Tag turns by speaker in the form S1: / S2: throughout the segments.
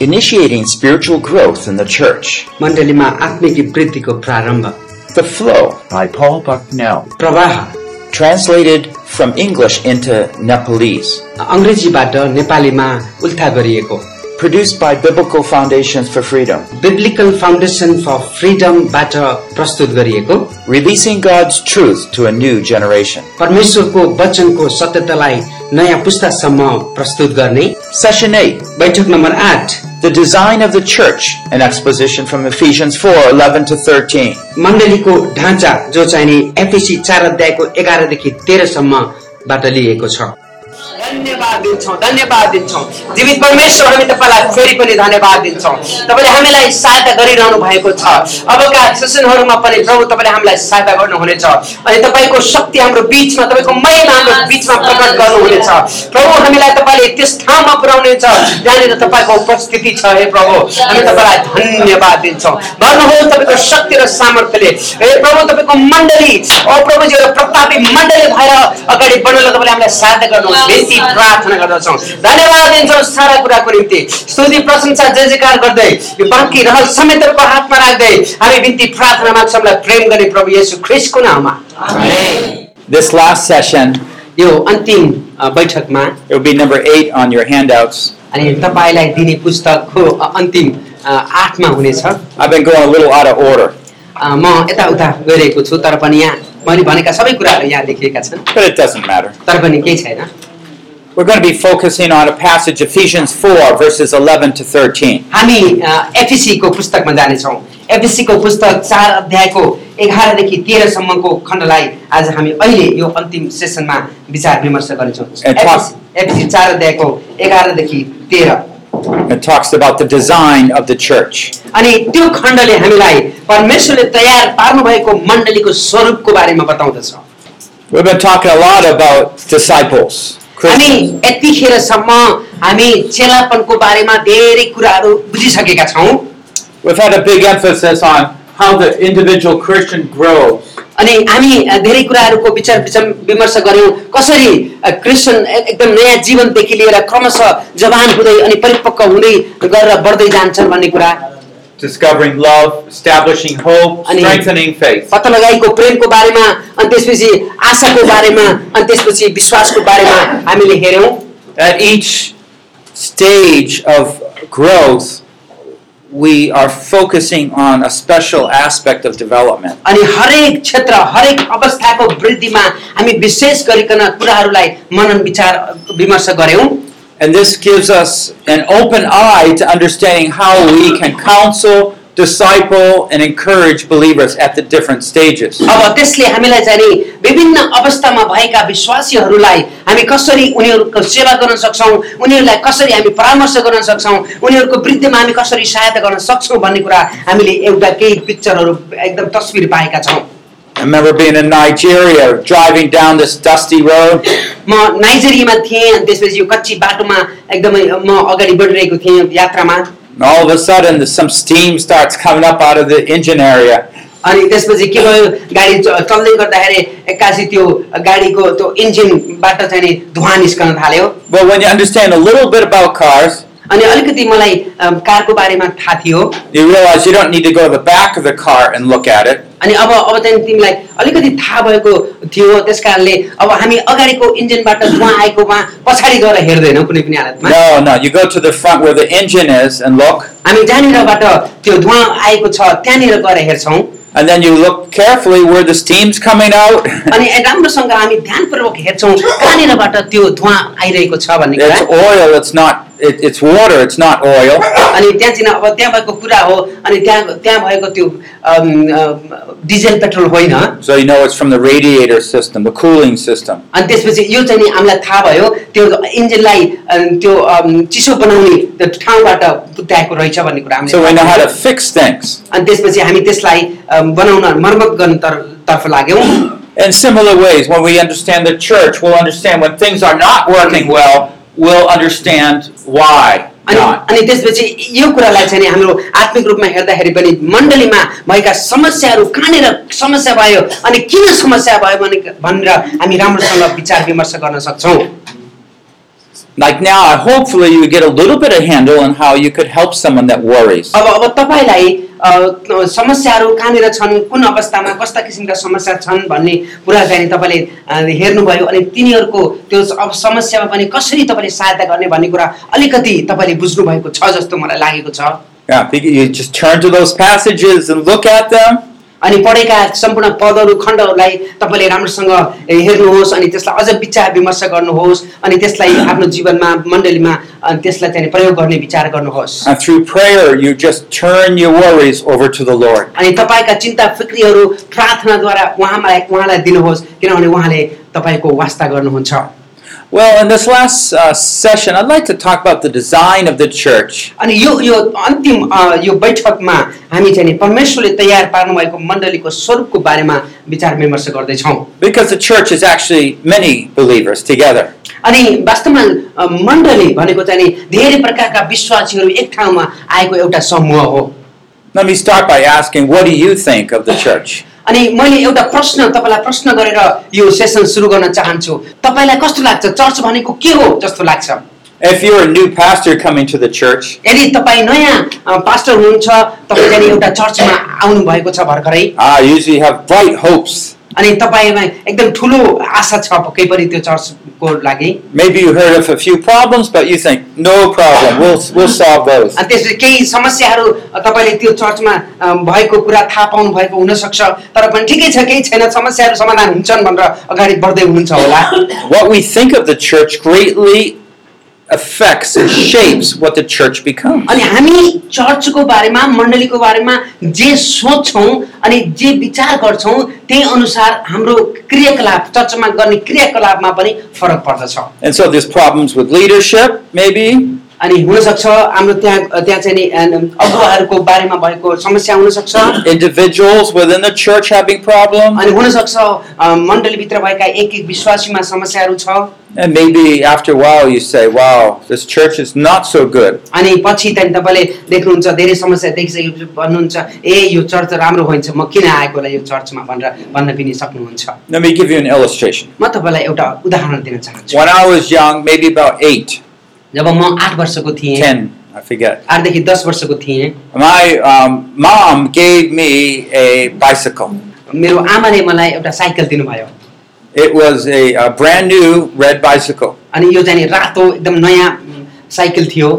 S1: initiating spiritual growth in the church.
S2: मण्डलीमा आत्मिक वृद्धिको प्रारम्भ
S1: The Flow,
S3: by Paul Bucknell.
S2: प्रवाह
S1: translated from English into Nepalese,
S2: अङ्ग्रेजीबाट नेपालीमा उल्था गरिएको
S1: produced by Biblical Foundations for Freedom,
S2: Biblical Foundation for फ्रिडमबाट प्रस्तुत गरिएको
S1: releasing God's truth to a new generation.
S2: परमेश्वरको वचनको सत्यतालाई नयाँ पुस्तासम्म प्रस्तुत गर्ने
S1: Session 8
S2: बैठक नम्बर आठ
S1: The Design of the Church, an exposition from Ephesians 4 11 to 13.
S2: मण्डलीको ढाँचा जो चाहिने एफएसी चार अध्यायको एघारदेखि तेह्रसम्मबाट लिएको छ
S4: धन्यवाद दिन्छौँ धन्यवाद दिन्छौँ जीवित परमेश्वर हामी तपाईँलाई फेरि पनि धन्यवाद दिन्छौँ तपाईँले हामीलाई सहायता गरिरहनु भएको छ अबका सेसनहरूमा पनि प्रभु तपाईँले हामीलाई सहायता गर्नुहुनेछ अनि तपाईँको शक्ति हाम्रो बिचमा तपाईँको महिमा हाम्रो बिचमा प्रकट गर्नुहुनेछ प्रभु हामीलाई तपाईँले त्यस ठाउँमा पुर्याउनेछ जहाँनिर तपाईँको उपस्थिति छ हे प्रभु हामी तपाईँलाई धन्यवाद दिन्छौँ भन्नुहोस् तपाईँको शक्ति र सामर्थ्यले हे प्रभु तपाईँको मण्डली ओ प्रभुजी एउटा प्रतापी मण्डली भएर अगाडि बढ्नलाई तपाईँले हामीलाई सहायता गर्नुहोस् बेसी प्रार्थना गर्दछौँ धन्यवाद दिन्छौँ सारा कुराको निम्ति स्तुति प्रशंसा जय जयकार गर्दै यो बाँकी रहल समेत तपाईँको हातमा राख्दै हामी बिन्ती प्रार्थना माग्छौँ हामीलाई प्रेम गर्ने प्रभु येशू ख्रिस्टको नाममा
S3: This last session,
S2: यो अन्तिम अ, बैठकमा
S3: it will be number eight on your handouts.
S2: अनि तपाईँलाई दिने पुस्तकको अ, अन्तिम अ, आठमा हुनेछ
S3: I've been going a little out of order,
S2: अ, म यताउता गइरहेको छु तर पनि यहाँ मैले भनेका सबै कुराहरू यहाँ लेखिएका छन्
S3: but it doesn't matter.
S2: तर पनि केही छैन
S3: We're going to be focusing on a passage, Ephesians 4, verses 11 to 13.
S2: हामी एफिसीको पुस्तकमा जानेछौँ एफिसीको पुस्तक चार अध्यायको एघारदेखि तेह्रसम्मको खण्डलाई आज हामी अहिले यो अन्तिम सेसनमा विचार विमर्श गर्नेछौँ E
S3: And talk-
S2: एफिसी चार अध्यायको एघारदेखि तेह्र
S3: It talks about the design of the church.
S2: अनि त्यो खण्डले हामीलाई परमेश्वरले तयार पार्नुभएको मण्डलीको स्वरूपको बारेमा बताउँदछ
S3: We've been talking a lot about disciples.
S2: अनि
S3: Christians.
S2: यतिखेरसम्म हामी चेलापनको बारेमा धेरै कुराहरू बुझिसकेका छौँ
S3: We've had a big emphasis on how the individual Christian grows.
S2: अनि हामी अ, धेरै कुराहरूको विचार विचम विमर्श गऱ्यौँ कसरी अ, क्रिस्चियन ए- एकदम नयाँ जीवनदेखि लिएर क्रमशः जवान हुँदै अनि परिपक्व हुँदै गरेर बढ्दै जान्छन् भन्ने कुरा
S3: Discovering love, establishing hope,
S2: I need-
S3: strengthening faith.
S2: पत्ता लगाइको प्रेमको बारेमा अनि त्यसपछि आशाको बारेमा अनि त्यसपछि विश्वासको बारेमा हामीले हेऱ्यौँ
S3: At each stage of growth, we are focusing on a special aspect of development.
S2: अनि हरेक क्षेत्र हरेक अवस्थाको वृद्धिमा हामी विशेष गरिकन कुराहरूलाई मनन विचार विमर्श गऱ्यौँ
S3: And this gives us an open eye to understanding how we can counsel, disciple, and encourage believers at the different stages.
S2: अब त्यसले हामीलाई चाहिँ नि विभिन्न अवस्थामा भएका विश्वासीहरूलाई हामी कसरी उनीहरूको सेवा गर्न सक्छौँ उनीहरूलाई कसरी हामी परामर्श गर्न सक्छौँ उनीहरूको वृद्धिमा हामी कसरी सहायता गर्न सक्छौँ भन्ने कुरा हामीले एउटा केही पिक्चरहरू एकदम तस्विर पाएका छौँ
S3: I remember being in Nigeria, driving down this dusty road,
S2: म नाइजेरियामा थिएँ अनि त्यसपछि यो कच्ची बाटोमा एकदमै म अगाडि बढिरहेको थिएँ यात्रामा
S3: and all of a sudden, there's some steam starts coming up out of the engine area.
S2: अनि त्यसपछि के भयो गाडी च- चल्दै गर्दाखेरि एक्कासी त्यो गाडीको त्यो इन्जिनबाट चाहिँ नि धुवा निस्कन थाल्यो
S3: But when you understand a little bit about cars,
S2: अनि अलिकति मलाई अम, कारको बारेमा थाहा थियो
S3: you realize you don't need to go to the back of the car and look at it.
S2: अनि अब अब चाहिँ तिमीलाई अलिकति थाहा भएको थियो त्यस कारणले अब हामी अगाडिको इन्जिनबाट धुवा आएकोमा पछाडि गएर हेर्दैनौँ कुनै पनि हालतमा
S3: No, no, you go to the front where the engine is and look,
S2: हामी जहाँनिरबाट त्यो धुवा आएको छ त्यहाँनिर गएर हेर्छौँ
S3: and then you look carefully where the steam's coming out.
S2: अनि राम्रोसँग हामी ध्यानपूर्वक हेर्छौँ कहाँनिरबाट त्यो धुवा आइरहेको छ भन्ने कुरा
S3: it's oil, it's not, it, it's water, it's not oil.
S2: अनि त्यहाँ चाहिँ अब त्यहाँ भएको कुरा हो अनि त्यहाँ त्यहाँ भएको त्यो अम, अम, डिजेल पेट्रोल होइन
S3: So you know it's from the radiator system, the cooling system.
S2: अनि त्यसपछि यो चाहिँ नि हामीलाई थाहा भयो त्यो इन्जिनलाई अम, त्यो अम, चिसो बनाउने त्यो ठाउँबाट पुत्याएको रहेछ भन्ने कुरा हामीले
S3: So we know
S2: थाहा
S3: how to
S2: भयो।
S3: fix things.
S2: अनि त्यसपछि हामी त्यसलाई अम, बनाउन मर्मत गर्न तर- तर्फ लाग्यौँ
S3: In similar ways, when we understand the church, we'll understand when things are not working well, we'll understand why
S2: अनि
S3: not.
S2: अनि त्यसपछि यो कुरालाई चाहिँ नि हाम्रो आत्मिक रूपमा हेर्दाखेरि पनि मण्डलीमा भएका समस्याहरू कहाँनिर समस्या भयो अनि किन समस्या भयो भने भनेर हामी राम्रोसँग विचार विमर्श गर्न सक्छौँ
S3: Like now, I hopefully you get a little bit of handle on how you could help someone that worries.
S2: अब अब तपाईँलाई अ, समस्याहरू कहाँनिर छन् कुन अवस्थामा कस्ता किसिमका समस्या छन् भन्ने कुरा चाहिँ नि तपाईँले अ, हेर्नुभयो अनि तिनीहरूको त्यो अब समस्यामा पनि कसरी तपाईँले सहायता गर्ने भन्ने कुरा अलिकति तपाईँले बुझ्नुभएको छ जस्तो मलाई लागेको छ
S3: Yeah, think you just turn to those passages and look at them,
S2: अनि पढेका सम्पूर्ण पदहरू खण्डहरूलाई तपाईँले राम्रोसँग हेर्नुहोस् अनि त्यसलाई अझ विचार विमर्श गर्नुहोस् अनि त्यसलाई आफ्नो जीवनमा मण्डलीमा अनि त्यसलाई चाहिँ नि प्रयोग गर्ने विचार गर्नुहोस्
S3: and through prayer, you just turn your worries over to the Lord.
S2: अनि तपाईँका चिन्ता फिक्रीहरू प्रार्थनाद्वारा उहाँमा उहाँलाई दिनुहोस् किनभने उहाँले तपाईँको वास्ता गर्नुहुन्छ
S3: Well, in this last uh, session, I'd like to talk about the design of the church.
S2: अनि यो यो अन्तिम अ, यो बैठकमा हामी चाहिँ नि परमेश्वरले तयार पार्नुभएको मण्डलीको स्वरूपको बारेमा विचार विमर्श गर्दैछौँ
S3: Because the church is actually many believers together.
S2: अनि वास्तवमा अ, मण्डली भनेको चाहिँ नि धेरै प्रकारका विश्वासीहरू एक ठाउँमा आएको एउटा समूह हो
S3: Let me start by asking, what do you think of the church?
S2: अनि मैले एउटा प्रश्न तपाईँलाई प्रश्न गरेर यो सेसन सुरु गर्न चाहन्छु तपाईँलाई कस्तो लाग्छ चर्च भनेको के हो जस्तो लाग्छ
S3: If you're a new pastor coming to the church,
S2: यदि तपाईँ नयाँ अ, पास्टर हुनुहुन्छ तपाईँ जाने एउटा चर्चमा आउनु भएको छ भर्खरै
S3: I usually have bright hopes.
S2: अनि तपाईँमा एकदम ठुलो आशा छ पक्कै पनि त्यो चर्चको लागि
S3: Maybe you heard of a few problems, but you think, no problem, we'll, we'll solve those.
S2: अनि त्यसपछि केही समस्याहरू अ, तपाईँले त्यो चर्चमा अ, भएको कुरा थाहा पाउनु भएको हुनसक्छ तर पनि ठिकै छ केही छैन समस्याहरू समाधान हुन्छन् भनेर अगाडि बढ्दै हुनुहुन्छ होला
S3: What we think of the church greatly affects and shapes what the church becomes.
S2: अनि हामी चर्चको बारेमा मण्डलीको बारेमा जे सोच्छौँ अनि जे विचार गर्छौँ त्यही अनुसार हाम्रो क्रियाकलाप चर्चमा गर्ने क्रियाकलापमा पनि फरक पर्दछ
S3: And so there's problems with leadership, maybe.
S2: अनि हुनसक्छ हाम्रो त्यहाँ त्यहाँ चाहिँ नि अन- अगुवाहरूको बारेमा भएको समस्या हुनसक्छ
S3: Individuals within the church having problems.
S2: अनि हुनसक्छ अ, मण्डलीभित्र भएका एक एक विश्वासीमा समस्याहरू छ
S3: And maybe after a while you say, wow, this church is not so good.
S2: अनि पछि त्यहाँदेखि तपाईँले देख्नुहुन्छ धेरै समस्या देखिसकेपछि भन्नुहुन्छ ए यो चर्च राम्रो होइन म किन आएको होला यो चर्चमा भनेर भन्न पनि सक्नुहुन्छ
S3: Let me give you an illustration.
S2: म तपाईँलाई एउटा उदाहरण दिन चाहन्छु
S3: When I was young, maybe about eight,
S2: जब म आठ वर्षको थिएँ
S3: ten, I forget,
S2: आठदेखि दस वर्षको थिएँ
S3: my um, mom gave me a bicycle.
S2: मेरो आमाले मलाई एउटा साइकल दिनुभयो
S3: It was a, uh brand new red bicycle.
S2: अनि यो चाहिँ नि रातो एकदम नयाँ उम्, साइकल थियो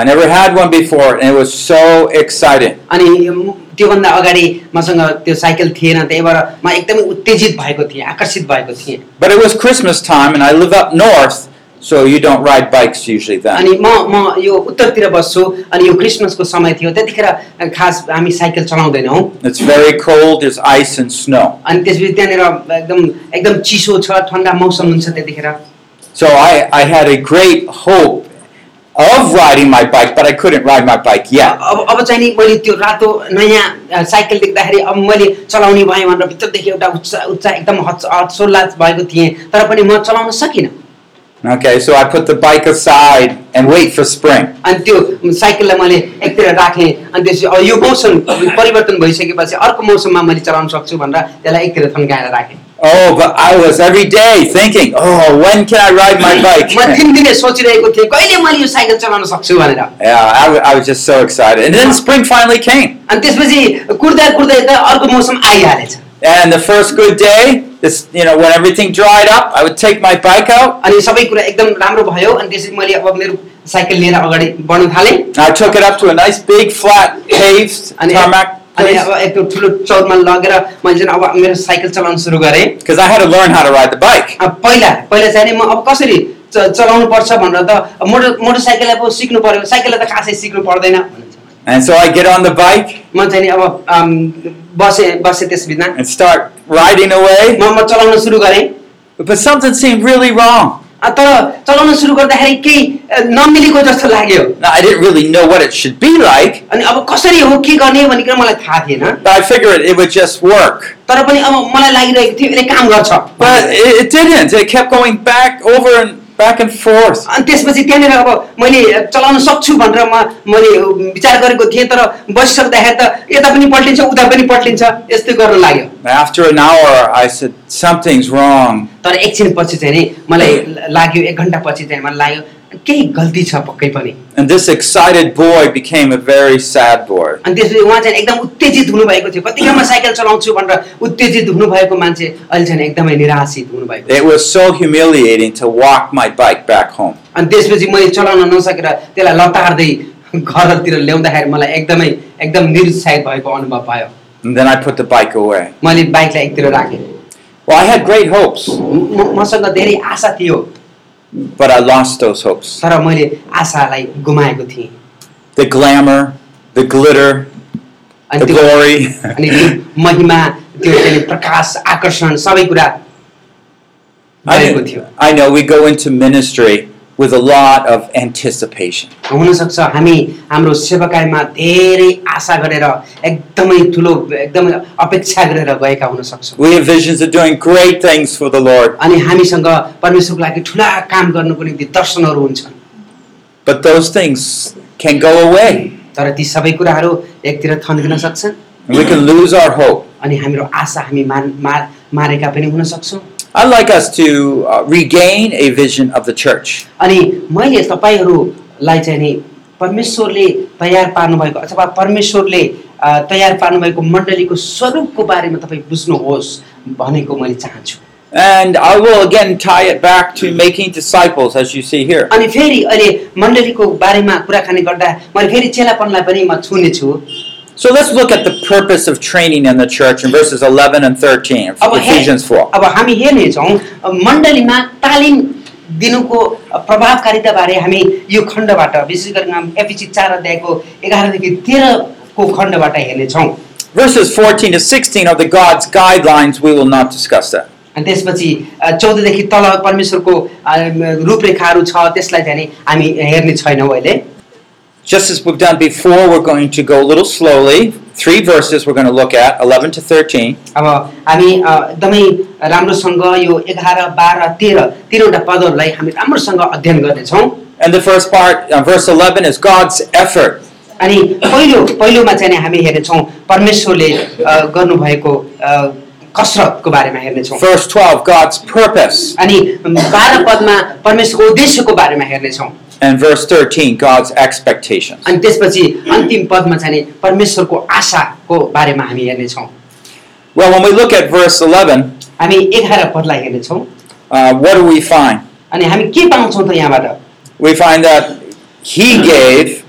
S3: I never had one before, and it was so exciting.
S2: अनि म- त्योभन्दा अगाडि मसँग त्यो साइकल थिएन त्यही भएर म एकदमै उत्तेजित भएको थिएँ आकर्षित भएको थिएँ
S3: But it was Christmas time, and I live up north, so you don't ride bikes usually then.
S2: अनि म म यो उत्तरतिर बस्छु अनि यो क्रिसमसको समय थियो त्यतिखेर खास हामी साइकल चलाउँदैनौँ
S3: It's very cold, there's ice and snow.
S2: अनि त्यसपछि त्यहाँनिर एकदम एकदम चिसो छ ठन्डा मौसम हुन्छ त्यतिखेर
S3: So I, I had a great hope of riding my bike, but I couldn't ride my bike yet.
S2: अब अब चाहिँ नि मैले त्यो रातो नयाँ अ, साइकल देख्दाखेरि अब मैले चलाउने भएँ भनेर भित्रदेखि एउटा उत्साह उत्साह एकदम हच हर्षोल्लास भएको थिएँ तर पनि म चलाउन सकिनँ
S3: Okay, so I put the bike aside and wait for spring.
S2: अनि त्यो साइकललाई मैले एकतिर राखेँ अनि त्यसपछि अब यो मौसम परिवर्तन भइसकेपछि अर्को मौसममा मैले चलाउन सक्छु भनेर त्यसलाई एकतिर थन्काएर राखेँ
S3: Oh, but I was every day thinking, oh, when can I ride my
S2: म
S3: bike?
S2: तिन दिनै सोचिरहेको थिएँ कहिले मैले यो साइकल चलाउन सक्छु भनेर
S3: Yeah, I wa- I was just so excited. And then spring finally came.
S2: अनि त्यसपछि कुर्दा कुर्दै त अर्को मौसम आइहालेछ
S3: And the first good day, this you know, when everything dried up, I would take my bike out.
S2: अनि सबै कुरा एकदम राम्रो भयो अनि त्यसपछि मैले अब मेरो साइकल लिएर अगाडि बढ्न थालेँ
S3: I took it up to a nice big flat paved
S2: अनि
S3: tarmac
S2: अनि
S3: place
S2: अब एकदम ठुलो चौरमा लगेर मैले चाहिँ अब मेरो साइकल चलाउन सुरु गरेँ
S3: because I had to learn how to ride the bike.
S2: अब पहिला पहिला चाहिँ नि म अब कसरी च- चलाउनु पर्छ भनेर त अब मोटर मोटरसाइकललाई पो सिक्नु पर्यो साइकललाई त खासै सिक्नु पर्दैन भनिन्छ।
S3: And so I get on the bike
S2: म चाहिँ नि अब आम, बसेँ बसेँ त्यसबिना
S3: and start riding away.
S2: म म चलाउन सुरु गरेँ
S3: But something seemed really wrong.
S2: अ, तर चलाउन सुरु गर्दाखेरि केही अ, नमिलेको जस्तो लाग्यो
S3: Now I didn't really know what it should be like,
S2: अनि अब कसरी हो के गर्ने भनिकन मलाई थाहा थिएन
S3: but I figured it would just work.
S2: तर पनि अब मलाई लागिरहेको थियो यसले काम गर्छ
S3: But it, it didn't. It kept going back over and back and forth.
S2: अनि त्यसपछि त्यहाँनिर अब मैले चलाउन सक्छु भनेर म मैले विचार गरेको थिएँ तर बसिसक्दाखेरि त यता पनि पल्टिन्छ उता पनि पल्टिन्छ यस्तै गर्न लाग्यो
S3: After an hour, I said, Something's wrong.
S2: तर एकछिन पछि चाहिँ नि मलाई लाग्यो एक घन्टा पछि चाहिँ मलाई लाग्यो केही गल्ती छ पक्कै पनि
S3: And this excited boy became a very sad boy.
S2: अनि त्यसपछि उहाँ चाहिँ एकदम उत्तेजित हुनुभएको थियो कतिखेर म साइकल चलाउँछु भनेर उत्तेजित हुनुभएको मान्छे अहिले चाहिँ एकदमै निराशित हुनुभएको
S3: It was so humiliating to walk my bike back home.
S2: अनि त्यसपछि मैले चलाउन नसकेर त्यसलाई लतार्दै घरतिर ल्याउँदाखेरि मलाई एकदमै एकदम निरुत्साहित भएको अनुभव भयो
S3: And then I put the bike away.
S2: मैले बाइकलाई एकतिर राखेँ
S3: Well, I had great hopes,
S2: म- म- मसँग धेरै आशा थियो
S3: but I lost those hopes.
S2: तर मैले आशालाई गुमाएको थिएँ
S3: The glamour, the glitter,
S2: अनि
S3: the
S2: त्यो अनि त्यो
S3: glory.
S2: महिमा त्यो चाहिँ प्रकाश आकर्षण सबै कुरा
S3: I
S2: गएको थियो
S3: know, I know we go into ministry with a lot of anticipation.
S2: हुनसक्छ हामी हाम्रो सेवाकायमा धेरै आशा गरेर एकदमै ठुलो एकदमै अपेक्षा गरेर गएका हुन सक्छौँ
S3: We have visions of doing great things for the Lord,
S2: अनि हामीसँग परमेश्वरको लागि ठुला काम गर्नुको निम्ति दर्शनहरू हुन्छन्
S3: but those things can go away.
S2: तर ती सबै कुराहरू एकतिर थन्किन सक्छन्
S3: And we can lose our hope.
S2: अनि हाम्रो आशा हामी मान मार मारेका पनि हुन सक्छौँ
S3: I'd like us to uh, regain a vision of the church.
S2: अनि मैले तपाईँहरूलाई चाहिँ नि परमेश्वरले तयार पार्नुभएको अथवा परमेश्वरले अ, तयार पार्नुभएको मण्डलीको स्वरूपको बारेमा तपाईँ बुझ्नुहोस् भनेको मैले चाहन्छु
S3: And I will again tie it back to making disciples, as you see here.
S2: अनि फेरि अहिले मण्डलीको बारेमा कुराकानी गर्दा मैले फेरि चेलापनलाई पनि म छुनेछु
S3: So let's look at the purpose of training in the church in verses 11 and 13 of
S2: अब हे-
S3: Ephesians 4.
S2: अब हामी हेर्नेछौँ मण्डलीमा तालिम दिनुको प्रभावकारिता बारे हामी यो खण्डबाट विशेष गरी हामी एपिसी चार अध्यायको एघारदेखि तेह्रको खण्डबाट हेर्नेछौँ
S3: Verses 14 to 16 are the God's guidelines. We will not discuss that.
S2: अनि त्यसपछि अ, चौधदेखि तल परमेश्वरको अ, रूपरेखाहरू छ त्यसलाई चाहिँ नि हामी हेर्ने छैनौँ अहिले
S3: Just as we've done before, we're going to go a little slowly. Three verses we're going to look at 11 to 13.
S2: अब हामी अ, एकदमै राम्रोसँग यो एघार बाह्र तेह्र तिनवटा पदहरूलाई हामी राम्रोसँग अध्ययन गर्नेछौँ
S3: And the first part, uh, verse 11, is God's effort.
S2: अनि पहिलो पहिलोमा चाहिँ नि हामी हेर्नेछौँ परमेश्वरले अ, गर्नुभएको अ, कसरतको बारेमा हेर्नेछौँ
S3: Verse 12, God's purpose.
S2: अनि बाह्र पदमा परमेश्वरको उद्देश्यको बारेमा हेर्नेछौँ
S3: And verse 13, God's expectations.
S2: अनि त्यसपछि अन्तिम पदमा चाहिँ नि परमेश्वरको आशाको बारेमा हामी हेर्नेछौँ
S3: Well, when we look at verse 11,
S2: हामी एघार पदलाई हेर्नेछौँ
S3: uh, what do we find?
S2: अनि हामी के पाउँछौँ त यहाँबाट
S3: We find that He gave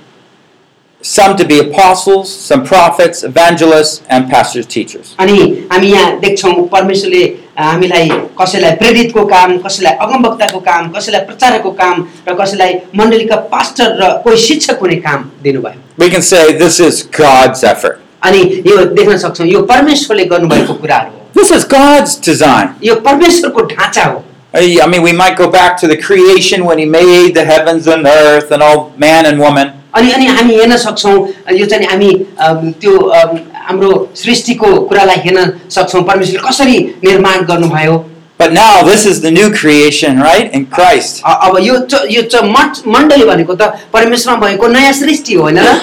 S3: some to be apostles, some prophets, evangelists, and pastors, teachers.
S2: अनि हामी यहाँ देख्छौँ परमेश्वरले अ, हामीलाई कसैलाई प्रेरितको काम कसैलाई अगमवक्ताको काम कसैलाई प्रचारकको काम र कसैलाई मण्डलीका पास्टर र कोही शिक्षक हुने काम दिनुभयो
S3: We can say this is God's effort.
S2: अनि यो देख्न सक्छौँ यो परमेश्वरले गर्नुभएको कुराहरू हो
S3: This is God's design.
S2: यो परमेश्वरको ढाँचा हो
S3: I I mean, we might go back to the creation when He made the heavens and earth and all man and woman.
S2: अनि अनि हामी हेर्न सक्छौँ यो चाहिँ हामी अम, त्यो अम, हाम्रो सृष्टिको कुरालाई हेर्न सक्छौँ परमेश्वरले कसरी निर्माण गर्नुभयो
S3: But now this is the new creation, right? In Christ.
S2: अ- अब यो च- यो च- मण्ड- मण्डली भनेको त परमेश्वरमा भएको नयाँ सृष्टि हो, होइन र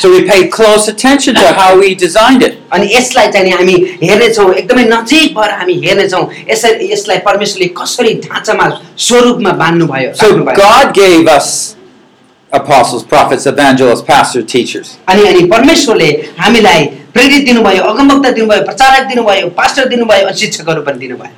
S3: So we pay close attention to how He designed it.
S2: अनि यसलाई चाहिँ नि हामी हेर्नेछौँ एकदमै नजिक भएर हामी हेर्नेछौँ यसरी यसलाई परमेश्वरले कसरी ढाँचामा स्वरूपमा बाँध्नुभयो
S3: So
S2: राख्नुभयो।
S3: God gave us apostles, prophets, evangelists, pastors, teachers.
S2: अनि अनि परमेश्वरले हामीलाई प्रेरित दिनुभयो अगमवक्ता दिनुभयो प्रचारक दिनुभयो पास्टर दिनुभयो अनि शिक्षकहरू पनि दिनुभयो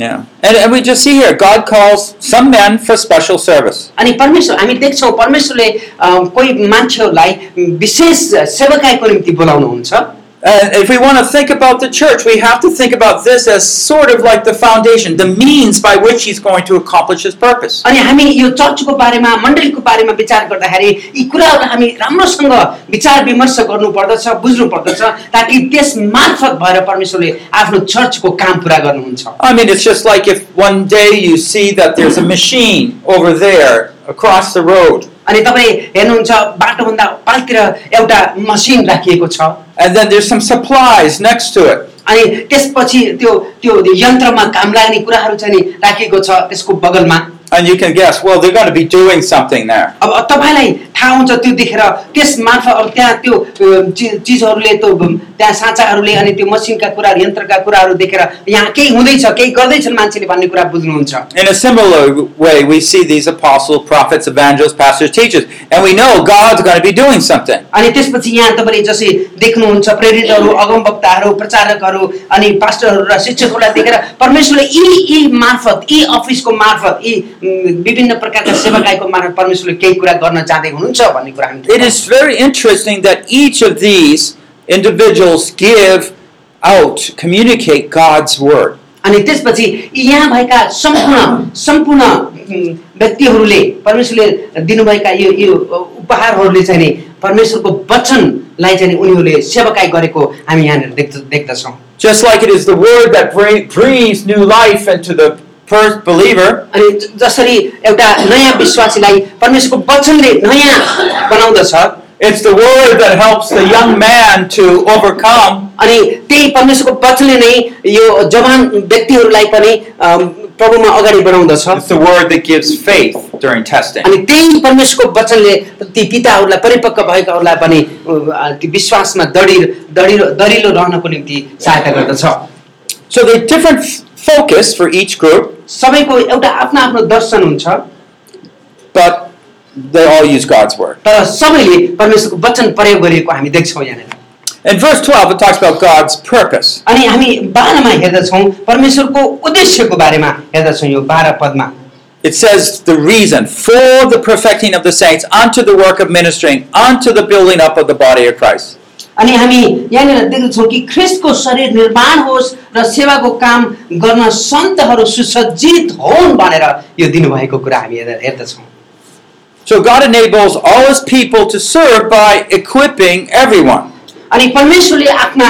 S3: Yeah. And, and we just see here, God calls some men for special service.
S2: अनि परमेश्वर हामी देख्छौँ परमेश्वरले अ, कोही मान्छेहरूलाई विशेष सेवकाईको निम्ति बोलाउनुहुन्छ
S3: And if we want to think about the church, we have to think about this as sort of like the foundation, the means by which he's going to accomplish his purpose.
S2: अनि हामी यो चर्चको बारेमा मण्डलीको बारेमा विचार गर्दाखेरि यी कुराहरू हामी राम्रोसँग विचार विमर्श गर्नुपर्दछ बुझ्नु पर्दछ ताकि त्यस मार्फत भएर परमेश्वरले आफ्नो चर्चको काम पुरा गर्नुहुन्छ
S3: I mean, it's just like if one day you see that there's a machine over there across the road,
S2: अनि तपाईँ हेर्नुहुन्छ बाटोभन्दा पालतिर एउटा मसिन राखिएको छ
S3: and then there's some supplies next to it.
S2: अनि त्यसपछि त्यो त्यो यन्त्रमा काम लाग्ने कुराहरू चाहिँ नि राखिएको छ त्यसको बगलमा
S3: And you can guess, well, they're going to be doing something there.
S2: अब तपाईँलाई थाहा हुन्छ त्यो देखेर त्यस मार्फत अब त्यहाँ त्यो अ, चि- चिजहरूले त्यो अम, त्यहाँ साँचाहरूले अनि त्यो मसिनका कुराहरू यन्त्रका कुराहरू देखेर यहाँ केही हुँदैछ केही गर्दैछन् मान्छेले भन्ने कुरा बुझ्नुहुन्छ
S3: In a similar way, we see these apostles, prophets, evangelists, pastors, teachers, and we know God's going to be doing something.
S2: अनि त्यसपछि यहाँ तपाईँले जसरी देख्नुहुन्छ प्रेरितहरू अगम वक्ताहरू प्रचारकहरू अनि पास्टरहरू र शिक्षकहरूलाई देखेर परमेश्वरले यी यी मार्फत यी अफिसको मार्फत यी अम, विभिन्न प्रकारका सेवाकाईको मार्फत परमेश्वरले केही कुरा गर्न जाँदै हुनुहुन्छ भन्ने कुरा हामी
S3: It is very interesting that each of these individuals give out, communicate God's word.
S2: अनि त्यसपछि यहाँ भएका सम्पूर्ण सम्पूर्ण उम्, व्यक्तिहरूले परमेश्वरले दिनुभएका यो यो उपहारहरूले चाहिँ नि परमेश्वरको वचनलाई चाहिँ नि उनीहरूले सेवकाई गरेको हामी यहाँनिर देख्द देख्दछौँ
S3: Just like it is the word that bring- breathes new life into the first believer,
S2: अनि ज- जसरी एउटा नयाँ विश्वासीलाई परमेश्वरको वचनले नयाँ बनाउँदछ
S3: it's the word that helps the young man to overcome.
S2: अनि त्यही परमेश्वरको वचनले नै यो जवान व्यक्तिहरूलाई पनि अम, प्रभुमा अगाडि बढाउँदछ
S3: It's the word that gives faith during testing.
S2: अनि त्यही परमेश्वरको वचनले ती पिताहरूलाई परिपक्व भएकाहरूलाई पनि अ, ती विश्वासमा दडिर दडिलो दरिलो रहनको निम्ति सहायता गर्दछ
S3: So the different f- focus for each group,
S2: सबैको एउटा आफ्नो आफ्नो दर्शन हुन्छ
S3: but they all use God's word.
S2: तर सबैले परमेश्वरको वचन प्रयोग गरिएको हामी देख्छौँ यहाँनिर
S3: In verse 12, it talks about God's purpose.
S2: अनि हामी बाह्रमा हेर्दछौँ परमेश्वरको उद्देश्यको बारेमा हेर्दछौँ यो बाह्र Padma
S3: It says the reason for the perfecting of the saints unto the work of ministering, unto the building up of the body of Christ.
S2: अनि हामी यहाँनिर देख्दछौँ कि ख्रिस्टको शरीर निर्माण होस् र सेवाको काम गर्न सन्तहरू सुसज्जित होन् भनेर यो दिनुभएको कुरा हामी हेर्दा- हेर्दछौँ
S3: So God enables all his people to serve by equipping everyone.
S2: अनि परमेश्वरले आफ्ना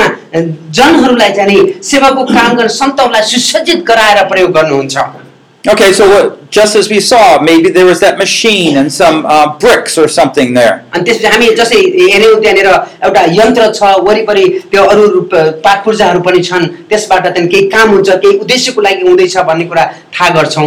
S2: जनहरूलाई चाहिँ नि सेवाको काम गर्न सन्तहरूलाई सुसज्जित गराएर प्रयोग गर्नुहुन्छ
S3: Okay, so what, just as we saw, maybe there was that machine and some uh, bricks or something there.
S2: अनि त्यसपछि हामी जसै हेऱ्यौँ त्यहाँनिर एउटा यन्त्र छ वरिपरि त्यो अरू अरू प- पाट पूर्जाहरू पनि छन् त्यसबाट त्यहाँदेखि केही काम हुन्छ केही उद्देश्यको लागि हुँदैछ भन्ने कुरा थाहा गर्छौँ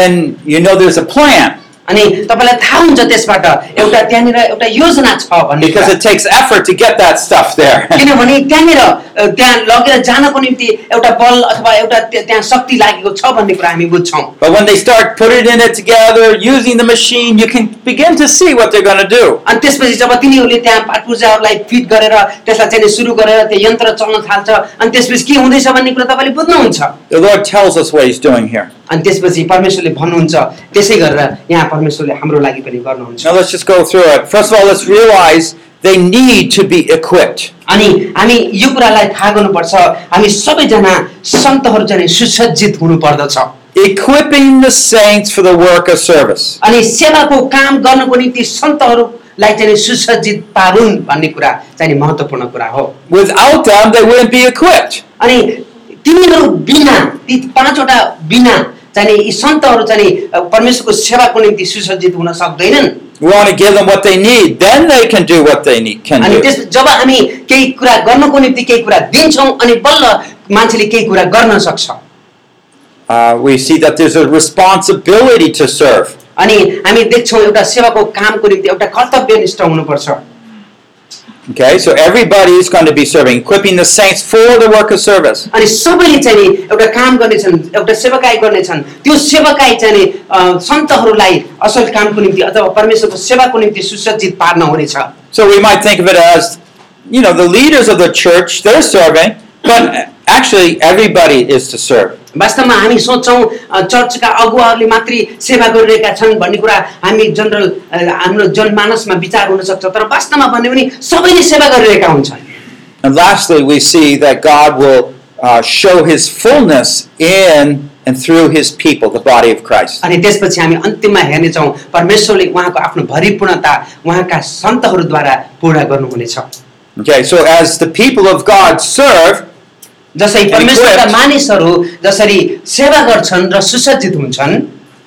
S3: Then you know there's a plan
S2: अनि तपाईँलाई थाहा हुन्छ त्यसबाट एउटा त्यहाँनिर एउटा योजना छ भन्ने
S3: because
S2: कुरा।
S3: it takes effort to get that stuff there.
S2: किनभने त्यहाँनिर अ, त्यहाँ लगेर जानको निम्ति एउटा बल अथवा एउटा त्यहाँ त्यहाँ शक्ति लागेको छ भन्ने कुरा हामी बुझ्छौँ
S3: But when they start putting it together, using the machine, you can begin to see what they're going to do.
S2: अनि त्यसपछि जब तिनीहरूले त्यहाँ पाठ पूर्जाहरूलाई फिट गरेर त्यसलाई चाहिँ नि सुरु गरेर त्यो यन्त्र चल्न थाल्छ अनि त्यसपछि के हुँदैछ भन्ने कुरा तपाईँले बुझ्नुहुन्छ
S3: The Lord tells us what He's doing here.
S2: अनि त्यसपछि परमेश्वरले भन्नुहुन्छ त्यसै गरेर यहाँ परमेश्वरले हाम्रो लागि पनि गर्नुहुन्छ
S3: Now let's just go through it. First of all, let's realize they need to be equipped.
S2: अनि हामी यो कुरालाई थाहा गर्नुपर्छ हामी सबैजना सन्तहरू चाहिँ नि सुसज्जित हुनुपर्दछ
S3: Equipping the saints for the work of service.
S2: अनि सेवाको काम गर्नको निम्ति सन्तहरूलाई चाहिँ नि सुसज्जित पारुन् भन्ने कुरा चाहिँ नि महत्त्वपूर्ण कुरा हो
S3: Without them, they wouldn't be equipped.
S2: अनि तिनीहरू बिना ती पाँचवटा बिना चाहिँ नि यी सन्तहरू चाहिँ नि परमेश्वरको सेवाको निम्ति सुसज्जित हुन सक्दैनन्
S3: We want to give them what they need. Then they can do what they need, can
S2: अनि
S3: do.
S2: त्यस जब हामी केही कुरा गर्नको निम्ति केही कुरा दिन्छौँ अनि बल्ल मान्छेले केही कुरा गर्न सक्छ
S3: Uh, we see that there's a responsibility to serve.
S2: अनि हामी देख्छौँ एउटा सेवाको कामको निम्ति एउटा कर्तव्यनिष्ठ हुनुपर्छ
S3: Okay, so everybody is going to be serving, equipping the saints for the work of service.
S2: अनि सबैले चाहिँ नि एउटा काम गर्नेछन् एउटा सेवाकाई गर्नेछन् त्यो सेवाकाई चाहिँ नि अ, सन्तहरूलाई असल कामको निम्ति अथवा परमेश्वरको सेवाको निम्ति सुसज्जित पार्न हुनेछ
S3: So we might think of it as, you know, the leaders of the church, they're serving, but actually everybody is to serve.
S2: वास्तवमा हामी सोच्छौँ अ, चर्चका अगुवाहरूले मात्रै सेवा गरिरहेका छन् भन्ने कुरा हामी जनरल अ, हाम्रो जनमानसमा विचार हुनसक्छ तर वास्तवमा भन्यो भने सबैले सेवा गरिरहेका हुन्छन्
S3: And lastly, we see that God will uh, show his fullness in and through his people, the body of Christ.
S2: अनि त्यसपछि हामी अन्तिममा हेर्नेछौँ परमेश्वरले उहाँको आफ्नो भरिपूर्णता उहाँका सन्तहरूद्वारा पूर्ण गर्नुहुनेछ
S3: Okay, so as the people of God serve,
S2: जसरी परमेश्वरका मानिसहरू जसरी सेवा गर्छन् र सुसज्जित हुन्छन्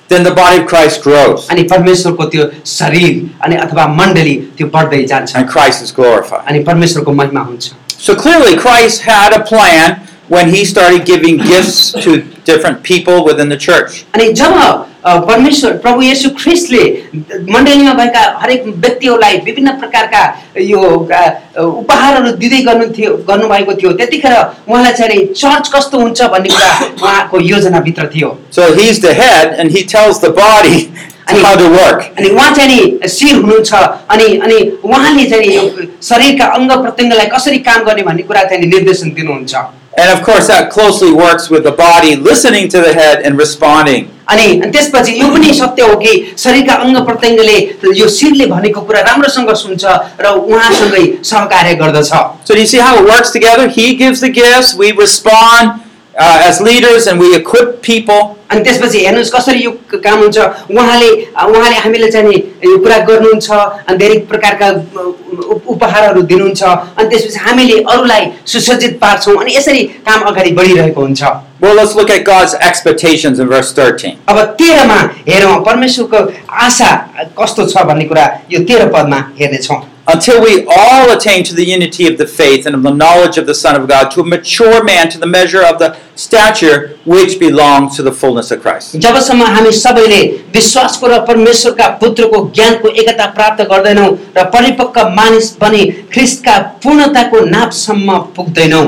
S3: then the body of Christ grows
S2: अनि परमेश्वरको त्यो शरीर अनि अथवा मण्डली त्यो बढ्दै जान्छ
S3: and Christ is glorified.
S2: अनि परमेश्वरको महिमा हुन्छ
S3: So clearly, Christ had a plan when he started giving gifts to different people within the church.
S2: अनि जब अ, परमेश्वर प्रभु येशू ख्रिस्टले मण्डलीमा भएका हरेक व्यक्तिहरूलाई विभिन्न प्रकारका यो अ, उपहारहरू दिँदै गर्नु थियो गर्नुभएको थियो त्यतिखेर उहाँलाई चाहिँ नि चर्च कस्तो हुन्छ भन्ने कुरा उहाँको योजनाभित्र थियो
S3: So he's the head and he tells the body how to work.
S2: अनि उहाँ चाहिँ नि शिर हुनुहुन्छ अनि अनि उहाँले चाहिँ नि शरीरका अङ्ग प्रत्यङ्गलाई कसरी काम गर्ने भन्ने कुरा चाहिँ नि निर्देशन दिनुहुन्छ
S3: And of course, that closely works with the body listening to the head and responding.
S2: अनि त्यसपछि यो पनि सत्य हो कि शरीरका अङ्ग प्रत्यङ्गले यो शिरले भनेको कुरा राम्रोसँग सुन्छ र उहाँसँगै सहकार्य गर्दछ
S3: So do you see how it works together? He gives the gifts, we respond uh, as leaders, and we equip people.
S2: अनि त्यसपछि हेर्नुहोस् कसरी यो क- काम हुन्छ उहाँले उहाँले हामीले चाहिँ नि यो कुरा गर्नुहुन्छ अनि धेरै प्रकारका उप- उपहारहरू दिनुहुन्छ अनि त्यसपछि हामीले अरूलाई सुसज्जित पार्छौँ अनि यसरी काम अगाडि बढिरहेको हुन्छ
S3: Well, let's look at God's expectations in verse 13.
S2: अब तेह्रमा हेरौँ परमेश्वरको आशा कस्तो छ भन्ने कुरा यो तेह्र Padma हेर्नेछौँ
S3: Until we all attain to the unity of the faith and of the knowledge of the Son of God, to a mature man, to the measure of the stature which belongs to the fullness of Christ.
S2: जबसम्म हामी सबैले विश्वासको र परमेश्वरका पुत्रको ज्ञानको एकता प्राप्त गर्दैनौँ र परिपक्व मानिस पनि ख्रिस्टका पूर्णताको नापसम्म पुग्दैनौँ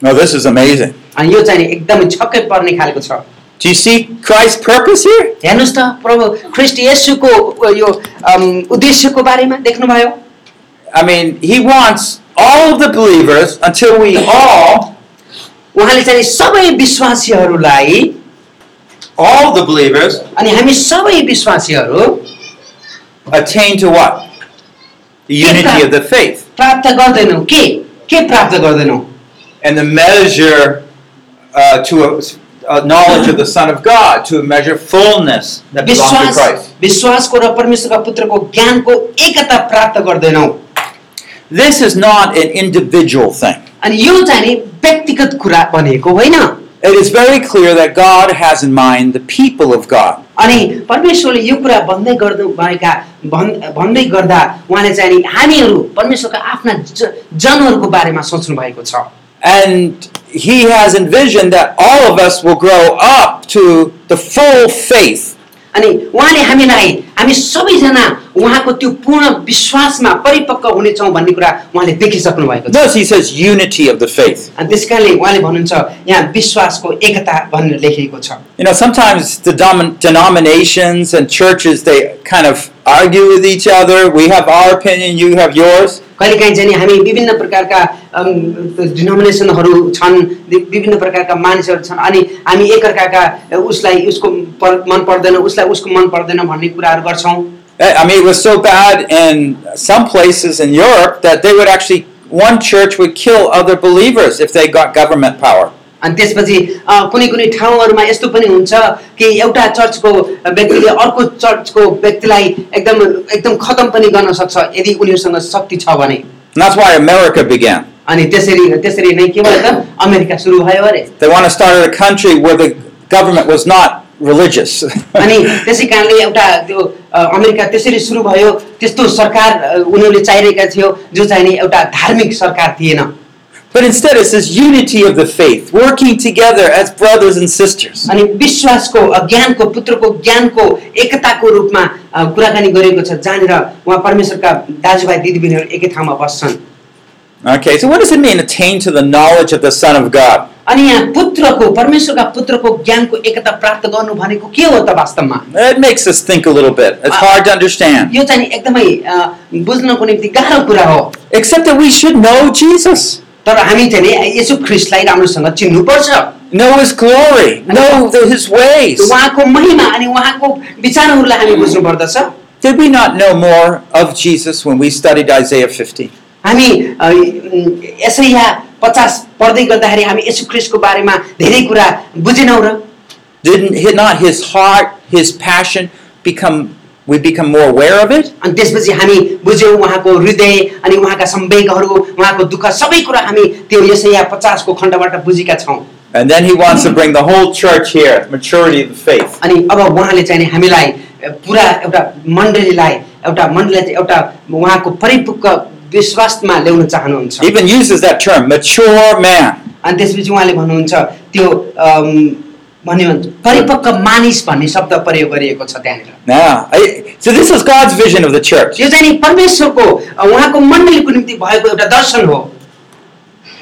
S3: Now, Oh, this is amazing.
S2: अनि यो चाहिँ नि एकदमै छक्कै पर्ने खालको छ
S3: Do you see Christ's purpose here?
S2: हेर्नुहोस् त प्रभु ख्रिस्ट येशूको यो अम, उद्देश्यको बारेमा देख्नुभयो
S3: I mean, he wants all of the believers until we all,
S2: उहाँले चाहिँ नि सबै विश्वासीहरूलाई
S3: all the believers,
S2: अनि हामी सबै विश्वासीहरू
S3: attain to what? The unity of the faith
S2: प्राप्त गर्दैनौँ के के प्राप्त गर्दैनौँ
S3: and the measure uh, to a, a knowledge of the Son of God, to a measure fullness that belongs to
S2: विश्वास
S3: Christ.
S2: विश्वासको र परमेश्वरका पुत्रको ज्ञानको एकता प्राप्त गर्दैनौँ
S3: This is not an individual thing.
S2: अनि यो चाहिँ नि व्यक्तिगत कुरा भनेको होइन
S3: It is very clear that God has in mind the people of God.
S2: अनि परमेश्वरले यो कुरा भन्दै गर्दै भएका भन् भन्दै गर्दा उहाँले चाहिँ नि हामीहरू परमेश्वरका आफ्ना ज- जनहरूको बारेमा सोच्नु भएको छ
S3: And He has envisioned that all of us will grow up to the full faith
S2: अनि उहाँले हामीलाई हामी सबैजना उहाँको त्यो पूर्ण विश्वासमा परिपक्व हुनेछौँ भन्ने कुरा उहाँले देखिसक्नु भएको छ
S3: Thus, he says unity of the faith.
S2: अनि त्यस कारणले उहाँले भन्नुहुन्छ यहाँ विश्वासको एकता भनेर लेखिएको छ
S3: You know, sometimes the dom- denominations and churches they kind of argue with each other. We have our opinion, you have yours.
S2: कहिलेकाहीँ चाहिँ नि हामी विभिन्न प्रकारका डिनोमिनेसनहरू छन् वि- विभिन्न प्रकारका मानिसहरू छन् अनि हामी एकअर्काका अ, उसलाई उसको पर, मन पर्दैन उसलाई उसको मन पर्दैन भन्ने कुराहरू गर्छौँ
S3: Eh, I mean, it was so bad in some places in Europe that they would actually one church would kill other believers if they got government power.
S2: अनि त्यसपछि अ, कुनै कुनै ठाउँहरूमा यस्तो पनि हुन्छ कि एउटा चर्चको व्यक्तिले अर्को चर्चको व्यक्तिलाई एकदम एकदम खतम पनि गर्न सक्छ यदि उनीहरूसँग शक्ति छ भने
S3: And that's why America began.
S2: अनि त्यसरी त्यसरी नै के भयो त अमेरिका सुरु भयो अरे
S3: They want to start a country where the government was not religious.
S2: अनि त्यसै कारणले एउटा त्यो अ, अमेरिका त्यसरी सुरु भयो त्यस्तो सरकार अ, उनीहरूले चाहिरहेका थियो जो चाहिँ नि एउटा धार्मिक सरकार थिएन
S3: but instead, it says unity of the faith, working together as brothers and sisters.
S2: अनि विश्वासको अ, ज्ञानको पुत्रको ज्ञानको एकताको रूपमा अ, कुराकानी गरिएको छ जहाँनिर उहाँ परमेश्वरका दाजुभाइ दिदीबहिनीहरू एकै ठाउँमा बस्छन्
S3: Okay, so what does it mean attain to the knowledge of the Son of God?
S2: अनि यहाँ पुत्रको परमेश्वरका पुत्रको ज्ञानको एकता प्राप्त गर्नु भनेको के हो त वास्तवमा
S3: It makes us think a little bit. It's hard to understand.
S2: यो चाहिँ नि एकदमै अ, बुझ्नको निम्ति गाह्रो कुरा हो
S3: Except that we should know Jesus,
S2: तर हामी चाहिँ नि यसो ख्रिस्टलाई राम्रोसँग चिन्नुपर्छ
S3: know His glory, know the, His ways.
S2: उहाँको महिमा अनि उहाँको विचारहरूलाई हामी बुझ्नु पर्दछ
S3: Did we not know more of Jesus when we studied Isaiah 50?
S2: हामी अ, यसै यहाँ पचास पढ्दै गर्दाखेरि हामी यसु ख्रिस्टको बारेमा धेरै कुरा बुझेनौँ र
S3: Didn't hi- not His heart, His passion become? We become more aware of it.
S2: अनि त्यसपछि हामी बुझ्यौँ उहाँको हृदय अनि उहाँका सम्वेगहरू उहाँको दुःख सबै कुरा हामी त्यो यसै यहाँ पचासको खण्डबाट बुझेका छौँ
S3: And then He wants to bring the whole church here, maturity of the faith.
S2: अनि अब उहाँले चाहिँ नि हामीलाई अ, पुरा एउटा मण्डलीलाई एउटा मण्डलीलाई चाहिँ एउटा उहाँको परिपक्व विश्वासमा ल्याउन चाहनुहुन्छ
S3: Even uses that term, mature man.
S2: अनि त्यसपछि उहाँले भन्नुहुन्छ त्यो अम, भन्यो भने परिपक्व मानिस भन्ने शब्द प्रयोग गरिएको छ त्यहाँनिर
S3: Yeah. I- so this is God's vision of the church.
S2: यो चाहिँ नि परमेश्वरको अ, उहाँको मण्डलीको निम्ति भएको एउटा दर्शन हो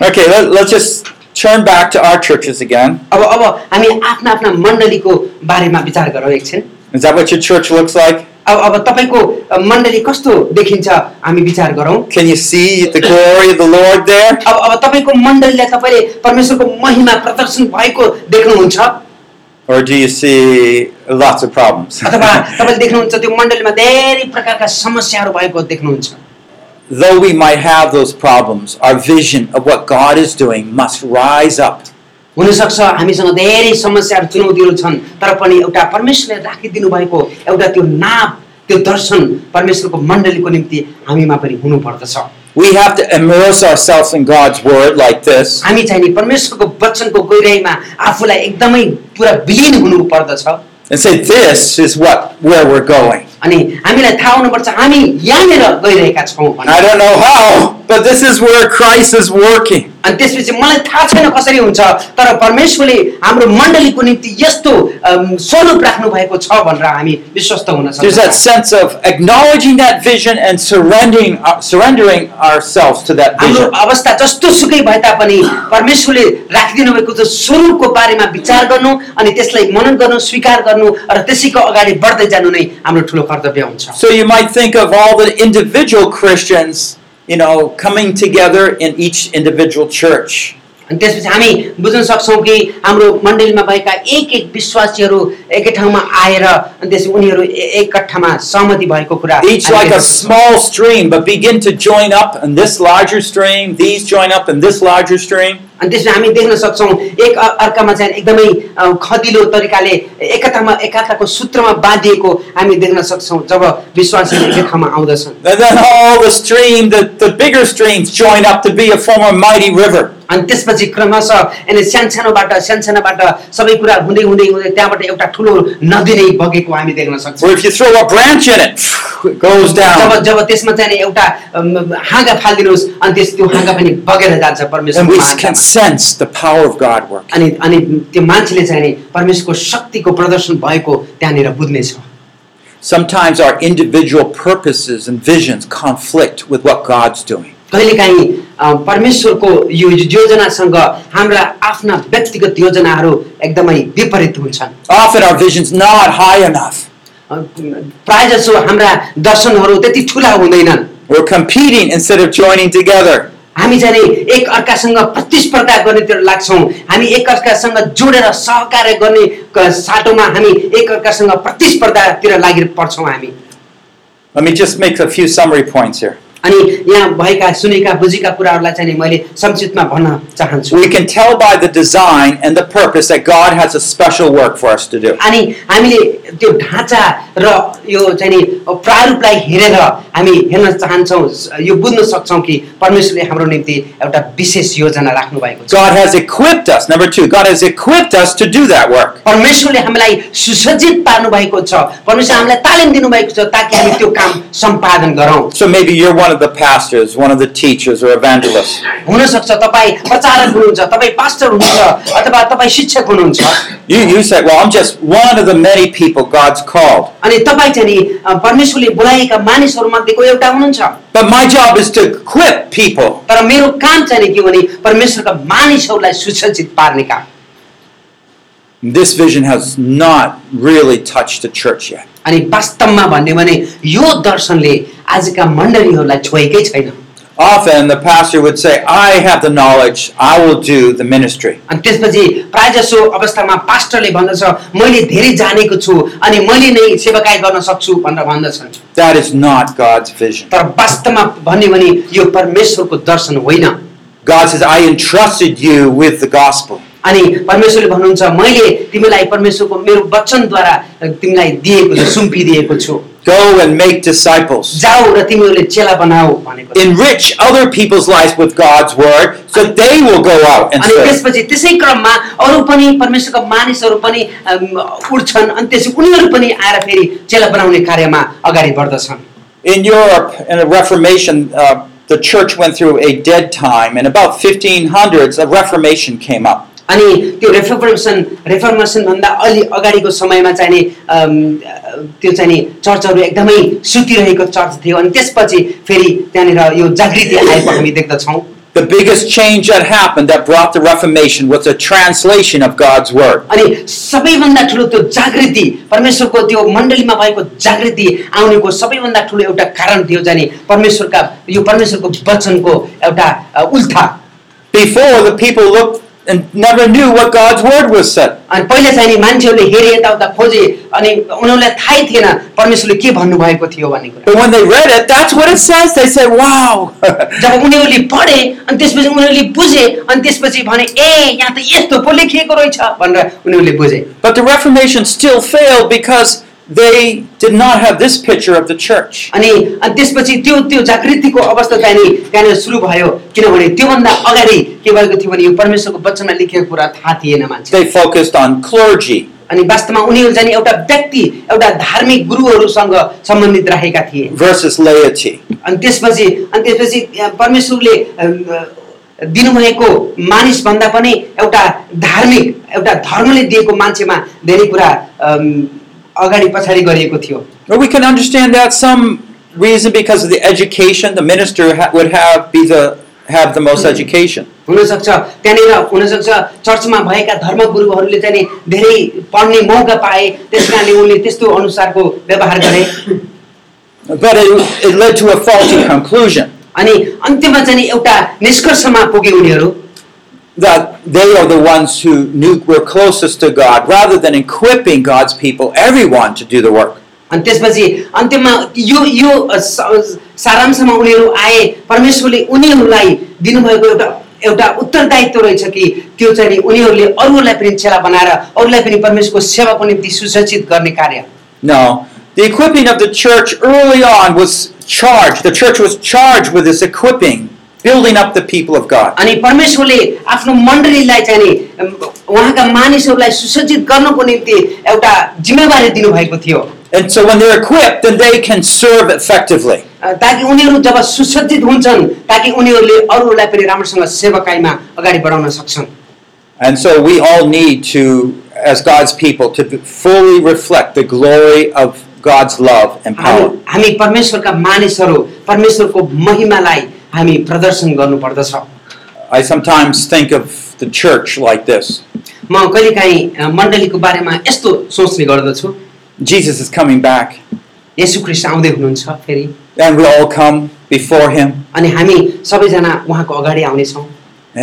S3: Okay, let, let's just turn back to our churches again.
S2: अब अब हामी आफ्ना आफ्ना मण्डलीको बारेमा विचार गरौँ एकछिन
S3: Is that what your church looks like?
S2: अब अब तपाईँको अ, मण्डली कस्तो देखिन्छ हामी विचार गरौँ
S3: Can you see the glory of the Lord there?
S2: अब अब तपाईँको मण्डलीलाई तपाईँले परमेश्वरको महिमा प्रदर्शन भएको देख्नुहुन्छ
S3: Or do you see lots of problems?
S2: अथवा तपाईँले देख्नुहुन्छ त्यो मण्डलीमा धेरै प्रकारका समस्याहरू भएको देख्नुहुन्छ
S3: Though we might have those problems, our vision of what God is doing must rise up.
S2: हुनसक्छ हामीसँग धेरै समस्याहरू चुनौतीहरू छन् तर पनि एउटा परमेश्वरले राखिदिनु भएको एउटा त्यो नाप त्यो दर्शन परमेश्वरको मण्डलीको निम्ति हामीमा पनि हुनुपर्दछ
S3: We have to immerse ourselves in God's word like this.
S2: हामी चाहिँ नि परमेश्वरको वचनको गहिराइमा आफूलाई एकदमै पुरा विलिन हुनु पर्दछ
S3: and say, This is what where we're going.
S2: अनि हामीलाई थाहा हुनुपर्छ हामी यहाँनिर गइरहेका छौँ भनेर
S3: I don't know how, but this is where Christ is working.
S2: अनि त्यसपछि मलाई थाहा छैन कसरी हुन्छ तर परमेश्वरले हाम्रो मण्डलीको निम्ति यस्तो अम, स्वरूप राख्नु भएको छ भनेर हामी विश्वस्त हुन
S3: There's that
S2: सक्छौँ
S3: sense of acknowledging that vision and surrendering, uh, surrendering ourselves to that
S2: हाम्रो
S3: vision.
S2: अवस्था जस्तो सुकै भए तापनि परमेश्वरले राखिदिनु भएको त्यो स्वरूपको बारेमा विचार गर्नु अनि त्यसलाई मनन गर्नु स्वीकार गर्नु र त्यसैको अगाडि बढ्दै जानु नै हाम्रो ठुलो कर्तव्य हुन्छ
S3: So you might think of all the individual Christians, you know, coming together in each individual church.
S2: अनि त्यसपछि हामी बुझ्न सक्छौँ कि हाम्रो मण्डलीमा भएका एक एक विश्वासीहरू एकै ठाउँमा आएर अनि त्यसपछि उनीहरू ए- एक कट्ठामा सहमति भएको कुरा
S3: Each
S2: हामी
S3: like
S2: देख्न
S3: a
S2: सक्छौँ।
S3: small stream, but begin to join up in this larger stream, these join up in this larger stream.
S2: अनि त्यसमा हामी देख्न सक्छौँ एक अ- अर्कामा चाहिँ एकदमै अ, खदिलो तरिकाले एकतामा एकाताको सूत्रमा बाँधिएको हामी देख्न सक्छौँ जब विश्वासहरू एकै ठाउँमा आउँदछन्
S3: And then all the stream, the, the bigger streams join up to be a former mighty river.
S2: अनि त्यसपछि क्रमशः यिनी सानसानोबाट सानसानोबाट सबै कुरा हुँदै हुँदै हुँदै त्यहाँबाट एउटा ठुलो नदी नै बगेको हामी देख्न
S3: Where
S2: सक्छौँ
S3: if you throw a branch in it, it goes
S2: जब
S3: down.
S2: जब त्यसमा चाहिँ नि एउटा अम, हाँगा फालिदिनुहोस् अनि त्यस त्यो हाँगा पनि बगेर जान्छ
S3: And we
S2: परमेश्वरको
S3: can
S2: हाँगामा।
S3: sense the power of God working.
S2: अनि अनि त्यो मान्छेले चाहिँ नि परमेश्वरको शक्तिको प्रदर्शन भएको त्यहाँनिर बुझ्नेछ
S3: Sometimes our individual purposes and visions conflict with what God's doing.
S2: कहिलेकाहीँ अ, परमेश्वरको यो योजनासँग हाम्रा आफ्ना व्यक्तिगत योजनाहरू एकदमै विपरीत हुन्छन्
S3: Often our vision's not high enough.
S2: अ, प्रायः जसो हाम्रा दर्शनहरू त्यति ठुला हुँदैनन्
S3: We're competing instead of joining together.
S2: हामी चाहिँ नि एक अर्कासँग प्रतिस्पर्धा गर्नेतिर लाग्छौँ हामी एक अर्कासँग जोडेर सहकार्य गर्ने क- साटोमा हामी एक अर्कासँग प्रतिस्पर्धातिर लागि पर्छौँ हामी
S3: Let me just make a few summary points here.
S2: अनि यहाँ भएका सुनेका बुझेका कुराहरूलाई चाहिँ नि मैले संक्षिप्तमा भन्न चाहन्छु
S3: We can tell by the design and the purpose that God has a special work for us to do.
S2: अनि हामीले त्यो ढाँचा र यो चाहिँ नि प्रारूपलाई हेरेर हामी हेर्न चाहन्छौँ यो बुझ्न सक्छौँ कि परमेश्वरले हाम्रो निम्ति एउटा विशेष योजना राख्नु भएको छ
S3: God has equipped us. Number two, God has equipped us to do that work.
S2: परमेश्वरले हामीलाई सुसज्जित पार्नु भएको छ परमेश्वर हामीलाई तालिम दिनुभएको छ ताकि हामी त्यो काम सम्पादन गरौँ
S3: So maybe you're one of the pastors, one of the teachers, or evangelists.
S2: हुनसक्छ तपाईँ प्रचारक हुनुहुन्छ तपाईँ पास्टर हुनुहुन्छ अथवा तपाईँ शिक्षक हुनुहुन्छ
S3: You, you say, well, I'm just one of the many people God's called.
S2: अनि तपाईँ चाहिँ नि अ, परमेश्वरले बोलाएका मानिसहरू मध्येको एउटा हुनुहुन्छ
S3: But my job is to equip people.
S2: तर मेरो काम चाहिँ नि के भने परमेश्वरका मानिसहरूलाई सुसज्जित पार्ने काम
S3: This vision has not really touched the church yet.
S2: अनि वास्तवमा भन्यो भने यो दर्शनले आजका मण्डलीहरूलाई छोएकै छैन
S3: Often the pastor would say, I have the knowledge, I will do the ministry.
S2: अनि त्यसपछि प्रायःजसो अवस्थामा पास्टरले भन्दछ मैले धेरै जानेको छु अनि मैले नै सेवाकाय गर्न सक्छु भनेर भन्दछन्
S3: That is not God's vision.
S2: तर वास्तवमा भन्यो भने यो परमेश्वरको दर्शन होइन
S3: God says, I entrusted you with the gospel.
S2: अनि परमेश्वरले भन्नुहुन्छ मैले तिमीलाई परमेश्वरको मेरो वचनद्वारा तिमीलाई दिएको छु सुम्पिदिएको छु
S3: Go and make disciples.
S2: जाऊ र तिमीहरूले चेला बनाऊ भनेको छ।
S3: enrich other people's lives with God's word so that they will go out and
S2: अनि
S3: serve.
S2: त्यसपछि त्यसै क्रममा अरू पनि परमेश्वरका मानिसहरू पनि अम, उठ्छन् अनि त्यसपछि उनीहरू पनि आएर फेरि चेला बनाउने कार्यमा अगाडि बढ्दछन्
S3: In Europe, in the Reformation, uh, the church went through a dead time, and about 1500s, a reformation came up.
S2: अनि त्यो रेफर्मेसन रेफर्मेसनभन्दा अलि अगाडिको समयमा चाहिँ नि अम, अ, त्यो चाहिँ नि चर्चहरू एकदमै सुतिरहेको चर्च थियो अनि त्यसपछि फेरि त्यहाँनिर यो जागृति आएको हामी देख्दछौँ
S3: The biggest change that happened that brought the Reformation was a translation of God's Word.
S2: अनि सबैभन्दा ठुलो त्यो जागृति परमेश्वरको त्यो मण्डलीमा भएको जागृति आउनेको सबैभन्दा ठुलो एउटा कारण थियो जाने परमेश्वरका यो परमेश्वरको वचनको एउटा अ, उल्था
S3: Before, the people looked and never knew what God's Word was said.
S2: अनि पहिला चाहिँ नि मान्छेहरूले हेरे यताउता खोजे अनि उनीहरूलाई थाहै थिएन परमेश्वरले के भन्नुभएको थियो भन्ने कुरा
S3: But when they read it, that's what it says. They said, wow.
S2: जब उनीहरूले पढे अनि त्यसपछि उनीहरूले बुझे अनि त्यसपछि भने ए यहाँ त यस्तो पो लेखिएको रहेछ भनेर उनीहरूले बुझे
S3: but the Reformation still failed because they did not have this picture of the church.
S2: अनि अनि त्यसपछि त्यो त्यो जागृतिको अवस्था चाहिँ नि त्यहाँनिर सुरु भयो किनभने त्योभन्दा अगाडि के भएको थियो भने यो परमेश्वरको वचनमा लेखिएको कुरा थाहा थिएन मान्छे
S3: They focused on clergy,
S2: अनि वास्तवमा उनीहरू चाहिँ नि एउटा व्यक्ति एउटा धार्मिक गुरुहरूसँग सम्बन्धित राखेका थिए
S3: versus laity.
S2: अनि त्यसपछि अनि त्यसपछि अ, परमेश्वरले अम, अ, दिनुभएको मानिसभन्दा पनि एउटा धार्मिक एउटा धर्मले दिएको मान्छेमा धेरै कुरा अम, अगाडि पछाडि गरिएको थियो
S3: Or we can understand that some reason because of the education the minister ha- would have be the have the most education.
S2: हुनसक्छ त्यहाँनिर हुनसक्छ चर्चमा भएका धर्मगुरुहरूले चाहिँ नि धेरै पढ्ने मौका पाए त्यस कारणले उनले त्यस्तो अनुसारको व्यवहार गरे
S3: But it, it led to a faulty conclusion
S2: अनि अन्त्यमा चाहिँ नि एउटा निष्कर्षमा पुगे उनीहरू
S3: that they are the ones who knew were closest to God, rather than equipping God's people, everyone, to do the work.
S2: अनि त्यसपछि अन्त्यमा यो यो स- सारांशमा उनीहरू आए परमेश्वरले उनीहरूलाई दिनुभएको एउटा एउटा उत्तरदायित्व रहेछ कि त्यो चाहिँ नि उनीहरूले अरूलाई पनि चेला बनाएर अरूलाई पनि परमेश्वरको सेवाको निम्ति सुसज्जित गर्ने कार्य
S3: No, the equipping of the church early on was charged. The church was charged with this equipping, building up the people of God.
S2: अनि परमेश्वरले आफ्नो मण्डलीलाई चाहिँ नि अम, उहाँका मानिसहरूलाई सुसज्जित गर्नको निम्ति एउटा जिम्मेवारी दिनुभएको थियो
S3: And so when they're equipped, then they can serve effectively.
S2: अ, ताकि उनीहरू जब सुसज्जित हुन्छन् ताकि उनीहरूले अरूहरूलाई पनि राम्रोसँग सेवकाइमा अगाडि बढाउन सक्छन्
S3: And so we all need to, as God's people, to fully reflect the glory of God's love and power.
S2: हामी हामी परमेश्वरका मानिसहरू परमेश्वरको महिमालाई हामी प्रदर्शन गर्नुपर्दछ
S3: I sometimes think of the church like this
S2: म कहिलेकाहीँ अ, मण्डलीको बारेमा यस्तो सोच्ने गर्दछु
S3: Jesus is coming back,
S2: यसु ख्रिस्ट आउँदै हुनुहुन्छ फेरि
S3: and we all come before him,
S2: अनि हामी सबैजना उहाँको अगाडि आउनेछौँ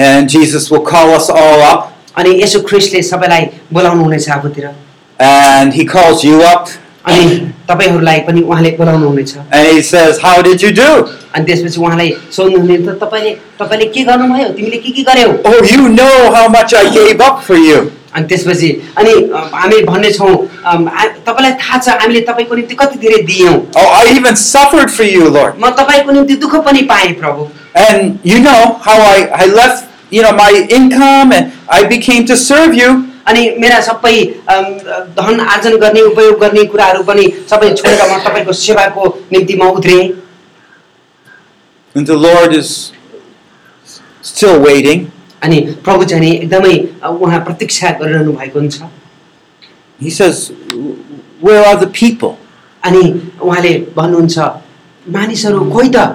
S3: and Jesus will call us all up,
S2: अनि यसु ख्रिस्टले सबैलाई बोलाउनु हुनेछ आफूतिर
S3: and he calls you up,
S2: अनि तपाईँहरूलाई पनि उहाँले बोलाउनु हुनेछ
S3: and he says, How did you do?
S2: अनि त्यसपछि उहाँलाई सोध्नुहुने त तपाईँले तपाईँले के गर्नुभयो तिमीले के के गर्यौ
S3: Oh, you know how much I gave up for you.
S2: अनि त्यसपछि अनि अ, हामी भन्नेछौँ अम, आ- तपाईँलाई थाहा छ हामीले तपाईँको निम्ति कति धेरै दियौँ
S3: Oh, I even suffered for you, Lord.
S2: म तपाईँको निम्ति दुःख पनि पाएँ प्रभु
S3: And you know how I, I left, you know, my income and I became to serve you.
S2: अनि मेरा सबै अम, धन आर्जन गर्ने उपयोग गर्ने कुराहरू पनि सबै छोडेर म तपाईँको सेवाको निम्ति म उत्रेँ
S3: And the Lord is still waiting.
S2: अनि प्रभु चाहिँ नि एकदमै अ, उहाँ प्रतीक्षा गरिरहनु भएको हुन्छ
S3: He says, Where are the people?
S2: अनि उहाँले भन्नुहुन्छ मानिसहरू खोइ त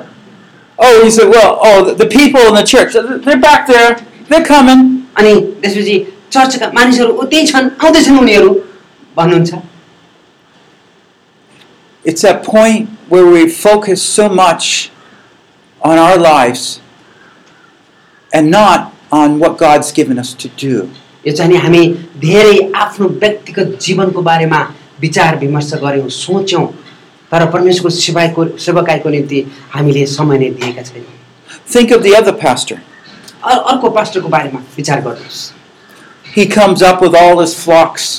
S3: Oh, he said, Well, oh, the people in the church, they're back there. They're coming.
S2: अनि त्यसपछि चर्चका मानिसहरू उतै छन् आउँदैछन् उनीहरू भन्नुहुन्छ
S3: It's that point where we focus so much on our lives and not on what God's given us to do.
S2: यो चाहिँ नि हामी धेरै आफ्नो व्यक्तिगत जीवनको बारेमा विचार विमर्श गऱ्यौँ सोच्यौँ तर परमेश्वरको सेवाको सेवकाईको निम्ति हामीले समय नै दिएका छैनौँ
S3: Think of the other pastor.
S2: अ- अर्को पास्टरको बारेमा विचार गर्नुहोस्
S3: He comes up with all his flocks.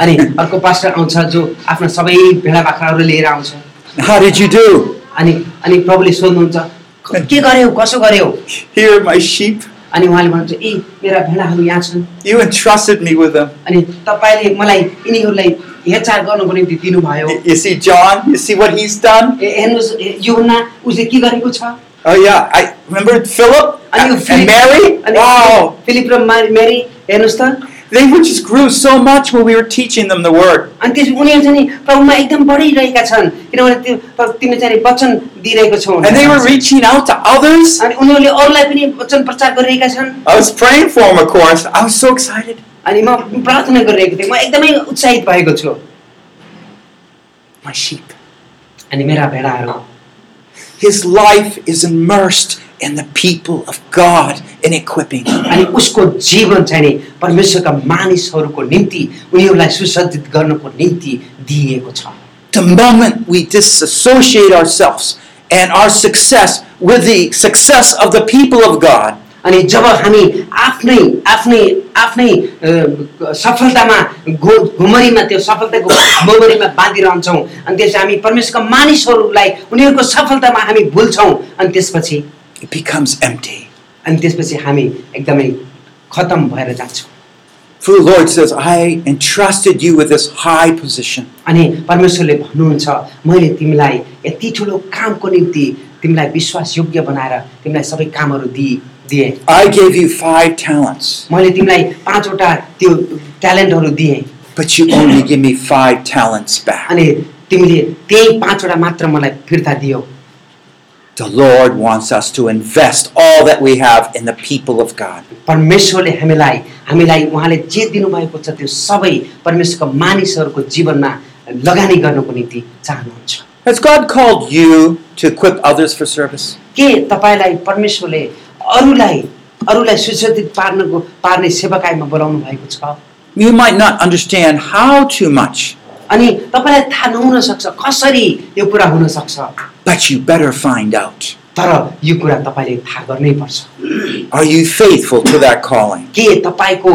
S2: अनि अर्को पास्टर आउँछ जो आफ्ना सबै भेडा बाख्राहरू लिएर आउँछ
S3: How did you do?
S2: अनि अनि प्रभुले सोध्नुहुन्छ "क- के गर्यौ कसो गर्यौ
S3: Here are my sheep.
S2: अनि उहाँले भन्नुहुन्छ ए मेरा भेडाहरू यहाँ छन्
S3: You entrusted me with them.
S2: अनि तपाईँले मलाई यिनीहरूलाई हेरचाह गर्नुको निम्ति दिनुभयो
S3: You see John? You see what he's done?
S2: ए हेर्नुहोस् ए, यो हुन्ना उसले के गरेको छ
S3: Oh yeah, I remember Philip
S2: अनि यो
S3: and,
S2: फिलिप-
S3: Uh, Mary.
S2: अनि
S3: Wow,
S2: फिलिप र मा- मेरी हेर्नुहोस् त
S3: they would just grew so much when we were teaching them the word.
S2: अनि त्यस उनीहरू चाहिँ नि प्रभुमा एकदम बढिरहेका छन् किनभने त्यो त- तिमी चाहिँ नि वचन दिइरहेको छौ
S3: And they were reaching out to others.
S2: अनि उनीहरूले अरूलाई पनि वचन प्रचार गरिरहेका छन्
S3: I was praying for them, of course. I was so excited.
S2: अनि म प्रार्थना गरिरहेको थिएँ म एकदमै उत्साहित भएको छु
S3: My sheep.
S2: अनि मेरा भेडाहरू
S3: His life is immersed in the people of God and equipping them.
S2: अनि उसको जीवन चाहिँ नि परमेश्वरका मानिसहरूको निम्ति उनीहरूलाई सुसज्जित गर्नको निम्ति दिइएको छ
S3: The moment we disassociate ourselves and our success with the success of the people of God,
S2: अनि जब हामी आफ्नै आफ्नै आफ्नै अ, सफलतामा घु घुमरीमा त्यो सफलताको मोमरीमा बाँधिरहन्छौँ अनि त्यसपछि हामी परमेश्वरका मानिसहरूलाई उनीहरूको सफलतामा हामी भुल्छौँ अनि त्यसपछि
S3: it becomes empty.
S2: अनि त्यसपछि हामी एकदमै खतम भएर जान्छौँ
S3: For the Lord says, I entrusted you with this high position.
S2: अनि परमेश्वरले भन्नुहुन्छ मैले तिमीलाई यति ठुलो कामको निम्ति तिमीलाई विश्वास योग्य बनाएर तिमीलाई सबै कामहरू दिए दिएँ
S3: I gave you five talents,
S2: मैले तिमीलाई पाँचवटा त्यो ट्यालेन्टहरू दिएँ
S3: but you only give me five talents back.
S2: अनि तिमीले त्यही पाँचवटा मात्र मलाई फिर्ता दियो
S3: The Lord wants us to invest all that we have in the people of God.
S2: परमेश्वरले हामीलाई हामीलाई उहाँले जे दिनुभएको छ त्यो सबै परमेश्वरको मानिसहरूको जीवनमा लगानी गर्नको निम्ति चाहनुहुन्छ
S3: Has God called you to equip others for service?
S2: के तपाईँलाई परमेश्वरले अरूलाई अरूलाई सुसज्जित पार्नको पार्ने सेवाकायमा बोलाउनु भएको छ
S3: You might not understand how too much,
S2: अनि तपाईँलाई थाहा नहुन सक्छ कसरी यो कुरा हुन सक्छ
S3: but you better find out.
S2: तर यो कुरा तपाईँले थाहा गर्नै पर्छ
S3: Are you faithful to that calling?
S2: के तपाईँको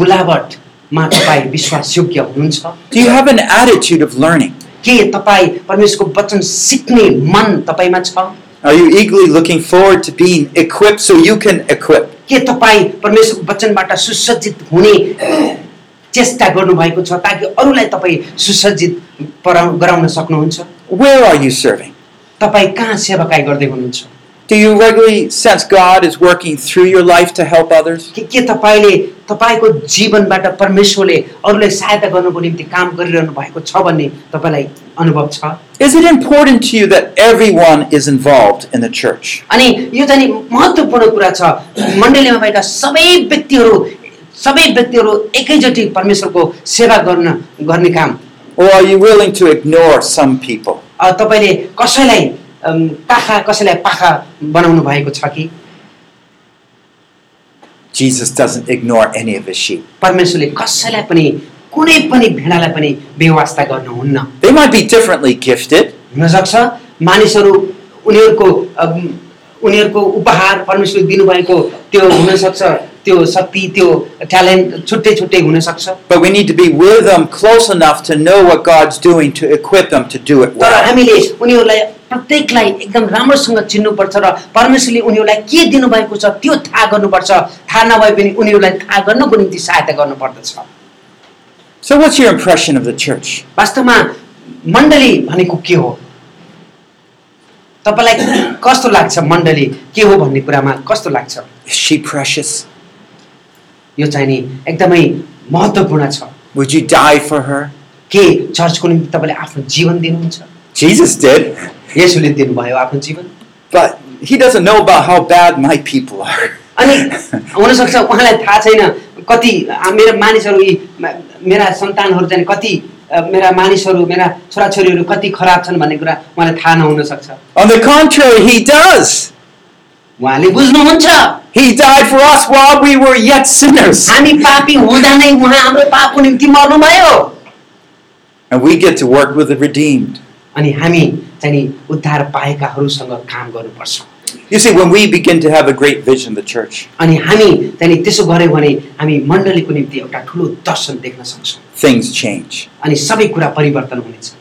S2: बोलावटमा तपाईँ विश्वासयोग्य हुनुहुन्छ
S3: Do you have an attitude of learning?
S2: के तपाईँ परमेश्वरको वचन सिक्ने मन तपाईँमा छ
S3: Are you eagerly looking forward to being equipped so you can equip?
S2: के तपाईँ परमेश्वरको वचनबाट सुसज्जित हुने चेष्टा गर्नुभएको छ ताकि अरूलाई तपाईँ सुसज्जित पराउ गराउन सक्नुहुन्छ
S3: Where are you serving?
S2: तपाईँ कहाँ सेवाकाई गर्दै हुनुहुन्छ
S3: Do you regularly sense God is working through your life to help others?
S2: के के तपाईँले तपाईँको जीवनबाट परमेश्वरले अरूलाई सहायता गर्नुको निम्ति काम गरिरहनु भएको छ भन्ने तपाईँलाई अनुभव छ
S3: Is it important to you that everyone is involved in the church?
S2: अनि यो चाहिँ नि महत्त्वपूर्ण कुरा छ मण्डलीमा भएका सबै व्यक्तिहरू सबै व्यक्तिहरू एकैचोटि परमेश्वरको सेवा गर्न गर्ने काम
S3: Or are you willing to ignore some people?
S2: अ, तपाईँले कसैलाई अम, पाखा कसैलाई पाखा बनाउनु भएको छ कि
S3: Jesus doesn't ignore any of his sheep.
S2: परमेश्वरले कसैलाई पनि कुनै पनि भेडालाई पनि बेवास्ता गर्नुहुन्न
S3: They might be differently gifted,
S2: हुनसक्छ मानिसहरू उनीहरूको अम, उनीहरूको उपहार परमेश्वरले दिनुभएको त्यो हुनसक्छ त्यो शक्ति त्यो ट्यालेन्ट छुट्टै छुट्टै हुनसक्छ
S3: but we need to be with them close enough to know what God's doing to equip them to do it
S2: तर
S3: well.
S2: हामीले उनीहरूलाई प्रत्येकलाई एकदम राम्रोसँग चिन्नुपर्छ र परमेश्वरले उनीहरूलाई के दिनुभएको छ त्यो थाहा गर्नुपर्छ थाहा नभए पनि उनीहरूलाई थाहा गर्नको निम्ति सहायता गर्नुपर्दछ
S3: So, what's your impression of the church?
S2: वास्तवमा मण्डली भनेको के हो तपाईँलाई कस्तो लाग्छ मण्डली के हो भन्ने कुरामा कस्तो लाग्छ
S3: Is she precious?
S2: यो चाहिँ नि एकदमै महत्त्वपूर्ण छ
S3: Would you die for her?
S2: के चर्चको निम्ति तपाईँले आफ्नो जीवन दिनुहुन्छ
S3: Jesus did,
S2: यसोले दिनुभयो आफ्नो जीवन
S3: but he doesn't know about how bad my people are.
S2: अनि हुनसक्छ उहाँलाई थाहा छैन कति आ- मेरा मानिसहरू यी मा- मेरा सन्तानहरू चाहिँ कति अ, मेरा मानिसहरू मेरा छोराछोरीहरू कति खराब छन् भन्ने कुरा उहाँलाई थाहा नहुनसक्छ
S3: On the contrary, he does.
S2: उहाँले बुझ्नुहुन्छ
S3: He died for us while we were yet sinners.
S2: हामी पापी हुँदा नै उहाँ हाम्रो पापको निम्ति मर्नुभयो
S3: And we get to work with the redeemed.
S2: अनि हामी चाहिँ नि उद्धार पाएकाहरूसँग काम गर्नुपर्छ
S3: You see, when we begin to have a great vision of the church,
S2: अनि हामी त्यहाँनिर त्यसो गऱ्यौँ भने हामी मण्डलीको निम्ति एउटा ठुलो दर्शन देख्न सक्छौँ
S3: things change.
S2: अनि सबै कुरा परिवर्तन हुनेछ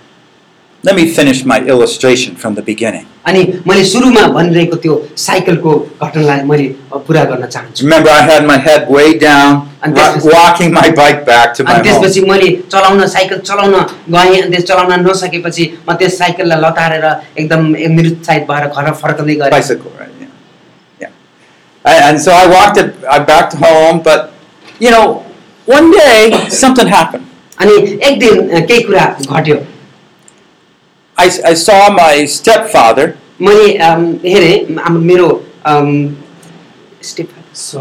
S3: Let me finish my illustration from the beginning.
S2: अनि मैले सुरुमा भनिरहेको त्यो साइकलको घटनालाई मैले पुरा गर्न चाहन्छु
S3: Remember, I had my head way down,
S2: And
S3: wa-
S2: this is-
S3: walking my bike back to my
S2: अनि
S3: home.
S2: त्यसपछि मैले चलाउन साइकल चलाउन गएँ अनि त्यस चलाउन नसकेपछि म त्यो साइकललाई लतारेर एकदम निरुत्साहित भएर घर फर्कँदै गरेँ
S3: bicycle, right? Yeah. yeah. And, and so I walked it I back to home, but you know, one day something happened.
S2: अनि एक दिन अ, केही कुरा घट्यो
S3: I, I saw my stepfather.
S2: मैले अम, हेरेँ हाम्रो- मेरो अम, स्टेप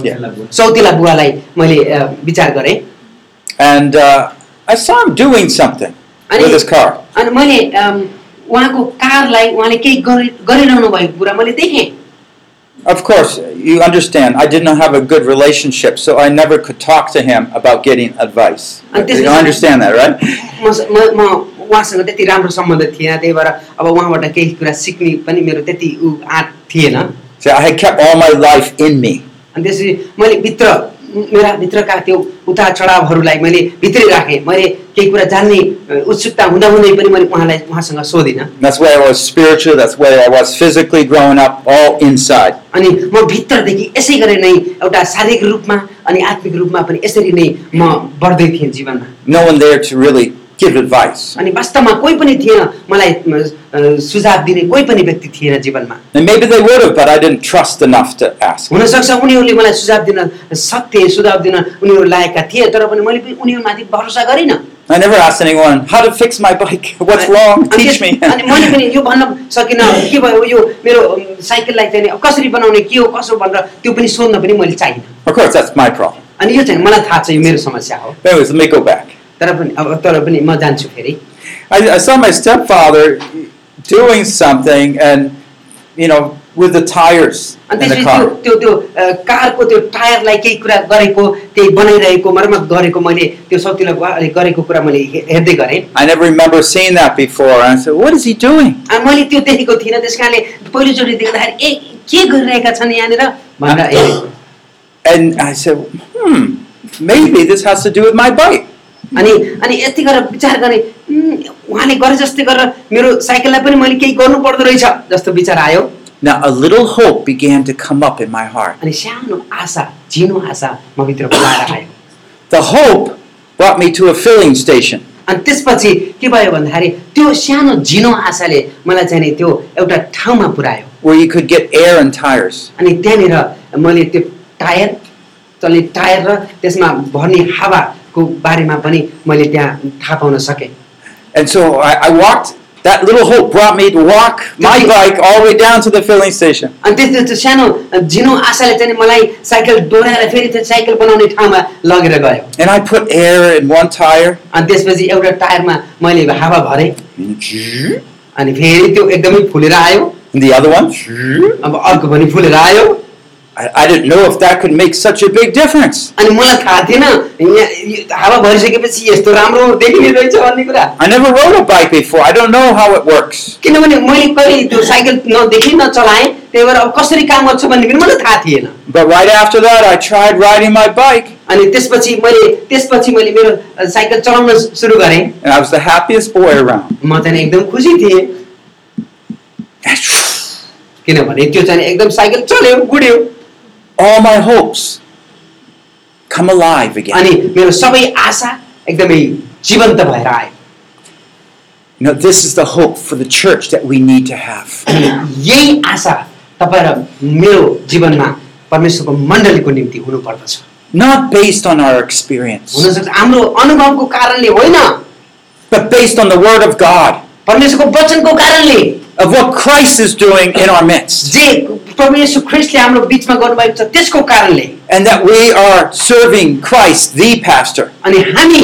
S3: Yeah.
S2: सौतिला बुवालाई मैले अ, विचार गरेँ
S3: And uh, I saw him doing something
S2: I
S3: with
S2: did-
S3: his car.
S2: अनि मैले अम, उहाँको कारलाई उहाँले केही गरि- गरिरहनु भएको कुरा मैले देखेँ
S3: Of course, you understand, I did not have a good relationship, so I never could talk to him about getting advice.
S2: I did-
S3: You understand that, right?
S2: म म म उहाँसँग त्यति राम्रो सम्बन्ध थिएन त्यही भएर अब उहाँबाट केही कुरा सिक्ने पनि मेरो त्यति ऊ आँट थिएन अनि
S3: So I had kept all my life in me.
S2: त्यसपछि मैले भित्र मेरा भित्रका त्यो उता चढावहरूलाई मैले भित्रै राखेँ मैले केही कुरा जान्ने अ, उत्सुकता हुँदाहुँदै पनि मैले उहाँलाई उहाँसँग सोधिनँ
S3: That's why I was spiritual, that's why I was physically growing up, all inside.
S2: अनि म भित्रदेखि यसै गरी नै एउटा शारीरिक रूपमा अनि आत्मिक रूपमा पनि यसरी नै म बढ्दै थिएँ जीवनमा
S3: no one there to really give advice.
S2: अनि वास्तवमा कोही पनि थिएन मलाई अ, सुझाव दिने कोही पनि व्यक्ति थिएन जीवनमा
S3: And maybe they would have, but I didn't trust enough to ask.
S2: हुनसक्छ उनीहरूले मलाई सुझाव दिन सक्थे सुझाव दिन उनीहरू लागेका थिए तर पनि मैले पनि उनीहरूमाथि भरोसा गरिनँ
S3: I never asked anyone how to fix my bike. What's wrong?
S2: अनि
S3: Teach me.
S2: त्यस- अनि मैले पनि यो भन्न सकिनँ के भयो यो मेरो अम, साइकललाई चाहिँ अब कसरी बनाउने के हो कसो भनेर त्यो पनि सोध्न पनि मैले चाहिनँ
S3: of course, that's my problem.
S2: अनि यो चाहिँ मलाई थाहा छ यो मेरो समस्या हो
S3: Anyways, let me go back.
S2: तर पनि अब तर पनि म जान्छु फेरि
S3: I, I saw my stepfather doing something, and you know, with the tires in
S2: अनि
S3: the
S2: त्यसपछि त्यो
S3: car.
S2: त्यो त्यो अ, कारको त्यो टायरलाई केही कुरा गरेको केही बनाइरहेको मर्मत गरेको मैले त्यो सौतिलो गरेको कुरा मैले हे- हेर्दै गरेँ
S3: I never remember seeing that before. And I said, "What is he doing?"
S2: अनि मैले त्यो देखेको थिइनँ त्यस कारणले पहिलोचोटि देख्दाखेरि ए के गरिरहेका छन् यहाँनिर भनेर हेरेँ
S3: And I said, "Hmm, maybe this has to do with my bike."
S2: अनि अनि यति गरेर विचार गरेँ "उम्, उहाँले गरे जस्तै गरेर मेरो साइकललाई पनि मैले केही गर्नु पर्दो रहेछ जस्तो विचार आयो
S3: Now, a little hope began to come up in my heart.
S2: अनि सानो आशा झिनो आशा म भित्र बोलाएर आयो
S3: The hope brought me to a filling station.
S2: अनि त्यसपछि के भयो भन्दाखेरि त्यो सानो झिनो आशाले मलाई चाहिँ नि त्यो एउटा ठाउँमा पुर्यायो
S3: where you could get air and tires.
S2: अनि त्यहाँनिर मैले त्यो टायर चल्ने टायर र त्यसमा भर्ने हावाको बारेमा पनि मैले त्यहाँ थाहा पाउन सकेँ
S3: And so I, I walked, that little hope brought me to walk my
S2: Okay.
S3: bike all the way down to the filling station.
S2: अनि त्यस्तो त्यो सानो झिनो आशाले चाहिँ नि मलाई साइकल डोराएर फेरि त्यो साइकल बनाउने ठाउँमा लगेर गयो
S3: And I put air in one tire.
S2: अनि त्यसपछि एउटा टायरमा मैले हावा भरेँ
S3: And
S2: अनि फेरि त्यो एकदमै फुलेर आयो
S3: the other one.
S2: अब अर्को पनि फुलेर आयो
S3: I, I didn't know if that could make such a big difference.
S2: अनि मलाई थाहा थिएन यहाँ यो हावा भरिसकेपछि यस्तो राम्रो देखिने रहेछ भन्ने कुरा
S3: I never rode a bike before. I don't know how it works.
S2: किनभने मैले कहिले त्यो साइकल नदेखि नचलाएँ त्यही भएर अब कसरी काम गर्छ भन्ने पनि मलाई थाहा थिएन
S3: But right after that, I tried riding my bike.
S2: अनि त्यसपछि मैले त्यसपछि मैले मेरो अ, साइकल चलाउन सुरु गरेँ
S3: And I was the happiest boy around.
S2: म चाहिँ नि एकदम खुसी थिएँ किनभने त्यो चाहिँ नि एकदम साइकल चल्यो गुड्यो
S3: All my hopes come alive again.
S2: अनि मेरो सबै आशा एकदमै जीवन्त भएर आयो
S3: You know, this is the hope for the church that we need to have.
S2: यही आशा तपाईँ र मेरो जीवनमा परमेश्वरको मण्डलीको निम्ति हुनुपर्दछ
S3: not based on our experience,
S2: हुनसक्छ हाम्रो अनुभवको कारणले होइन
S3: but based on the Word of God,
S2: परमेश्वरको वचनको कारणले
S3: of what Christ is doing in our midst,
S2: जे परमेश्वर ख्रिस्टले हाम्रो बिचमा गर्नुभएको छ त्यसको कारणले
S3: and that we are serving Christ, the pastor.
S2: अनि हामी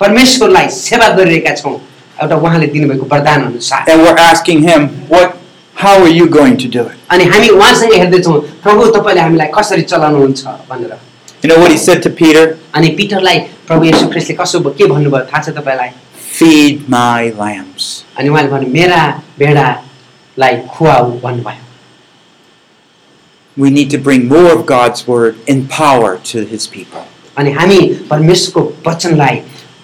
S2: परमेश्वरलाई सेवा गरिरहेका छौँ एउटा उहाँले दिनुभएको वरदान अनुसार
S3: And we're asking Him, what, how are you going to do it?
S2: अनि हामी उहाँसँग हेर्दैछौँ प्रभु तपाईँले हामीलाई कसरी चलाउनुहुन्छ भनेर
S3: You know what He said to Peter?
S2: अनि पिटरलाई प्रभु यशु ख्रिस्टले कसो भयो- के भन्नुभयो थाहा छ तपाईँलाई
S3: Feed my lambs.
S2: अनि उहाँले भन्नु मेरा भेडालाई खुवाऊ भन्नुभयो
S3: We need to bring more of God's Word in power to His people.
S2: अनि हामी परमेश्वरको वचनलाई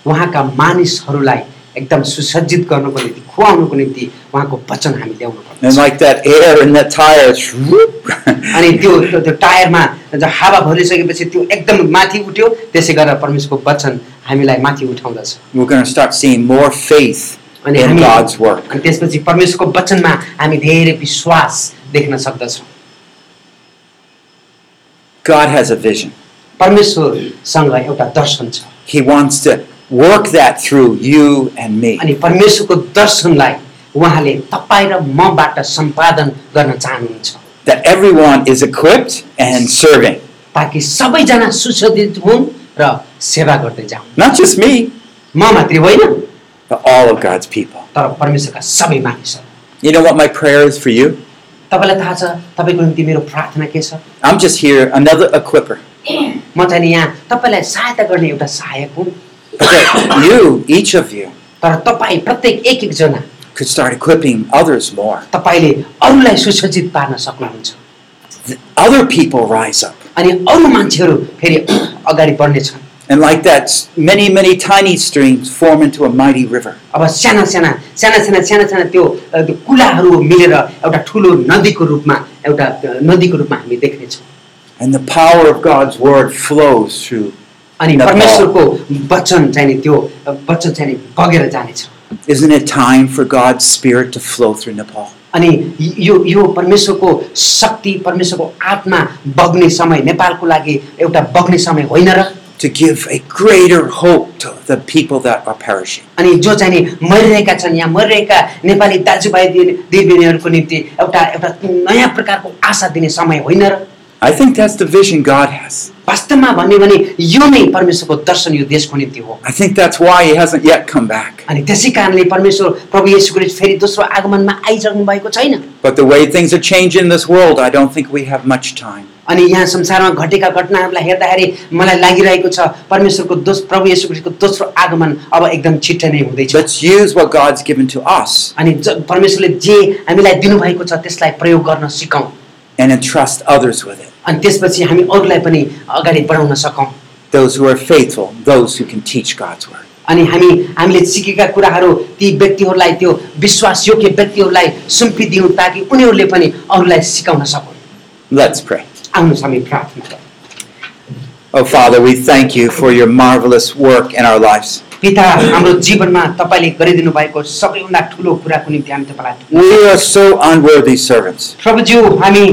S2: उहाँका मानिसहरूलाई एकदम सुसज्जित गर्नुको निम्ति खुवाउनुको निम्ति उहाँको वचन हामी ल्याउनु पर्छ
S3: And like that air in that tire, it's whoop.
S2: अनि त्यो त्यो त्यो टायरमा जब हावा भरिसकेपछि त्यो एकदम माथि उठ्यो त्यसै गरेर परमेश्वरको वचन हामीलाई माथि उठाउँदछ
S3: we're going to start seeing more faith
S2: अनि
S3: in
S2: हामी
S3: God's work.
S2: अनि त्यसपछि परमेश्वरको वचनमा हामी धेरै विश्वास देख्न सक्दछौँ
S3: God has a vision.
S2: परमेश्वरसँग एउटा दर्शन छ
S3: He wants to work that through you and me.
S2: अनि परमेश्वरको दर्शनलाई उहाँले तपाईँ र मबाट सम्पादन गर्न चाहनुहुन्छ
S3: That everyone is equipped and serving.
S2: ताकि सबैजना सुसज्जित हुन् र सेवा गर्दै जाउन्
S3: Not just me,
S2: म मात्रै होइन
S3: but all of God's people.
S2: तर परमेश्वरका सबै मानिसहरू
S3: You know what my prayer is for you?
S2: तपाईँलाई थाहा छ तपाईँको निम्ति मेरो प्रार्थना के छ
S3: I'm just here, another equipper.
S2: म चाहिँ नि यहाँ तपाईँलाई सहायता गर्ने एउटा सहायक हुँ
S3: But that you, each of you,
S2: तर तपाईँ प्रत्येक एक एकजना
S3: could start equipping others more.
S2: तपाईँले अरूलाई सुसज्जित पार्न सक्नुहुन्छ
S3: Other people rise up.
S2: अनि अरू मान्छेहरू फेरि अगाडि बढ्नेछन्
S3: And like that, many, many tiny streams form into a mighty river.
S2: अब साना साना साना साना साना साना त्यो अ, त्यो कुलाहरू मिलेर एउटा ठुलो नदीको रूपमा एउटा अ, नदीको रूपमा हामी देख्नेछौँ
S3: And the power of God's word flows through.
S2: अनि
S3: नेपाल।
S2: परमेश्वरको वचन चाहिँ नि त्यो अ, वचन चाहिँ नि बगेर जानेछ
S3: Isn't it time for God's spirit to flow through Nepal?
S2: अनि यो यो परमेश्वरको शक्ति परमेश्वरको आत्मा बग्ने समय नेपालको लागि एउटा बग्ने समय होइन र
S3: To give a greater hope to the people that are perishing.
S2: अनि जो चाहिँ नि मरिरहेका छन् यहाँ मरिरहेका नेपाली दाजुभाइ दिदी- दिदीबहिनीहरूको निम्ति एउटा एउटा नयाँ प्रकारको आशा दिने समय होइन र
S3: I think that's the vision God has.
S2: वास्तवमा भन्यो भने यो नै परमेश्वरको दर्शन यो देशको निम्ति हो
S3: I think that's why He hasn't yet come back.
S2: अनि त्यसै कारणले परमेश्वर प्रभु येशू ख्रीष्ट फेरि दोस्रो आगमनमा आइसक्नु भएको छैन
S3: But the way things are changing in this world, I don't think we have much time.
S2: अनि यहाँ संसारमा घटेका घटनाहरूलाई हेर्दाखेरि मलाई लागिरहेको छ परमेश्वरको दोस प्रभु येशू ख्रीष्टको दोस्रो आगमन अब एकदम छिट्टै नै हुँदैछ
S3: Let's use what God's given to us
S2: अनि ज- परमेश्वरले जे हामीलाई दिनुभएको छ त्यसलाई प्रयोग गर्न सिकौँ
S3: and entrust others with it.
S2: अनि त्यसपछि हामी अरूलाई पनि अगाडि बढाउन सकौँ
S3: Those who are faithful, those who can teach God's word.
S2: अनि हामी हामीले सिकेका कुराहरू ती व्यक्तिहरूलाई त्यो विश्वासयोग्य व्यक्तिहरूलाई सुम्पिदिउँ ताकि उनीहरूले पनि अरूलाई सिकाउन सकुन्
S3: Let's pray.
S2: आउनुहोस् हामी प्रार्थना गरौँ
S3: Oh, Father, we thank you for your marvelous work in our lives.
S2: पिता हाम्रो जीवनमा तपाईँले गरिदिनु भएको सबैभन्दा ठुलो कुराको निम्ति हामी तपाईँलाई धन्यवाद।
S3: We are so unworthy servants.
S2: प्रभुज्यू हामी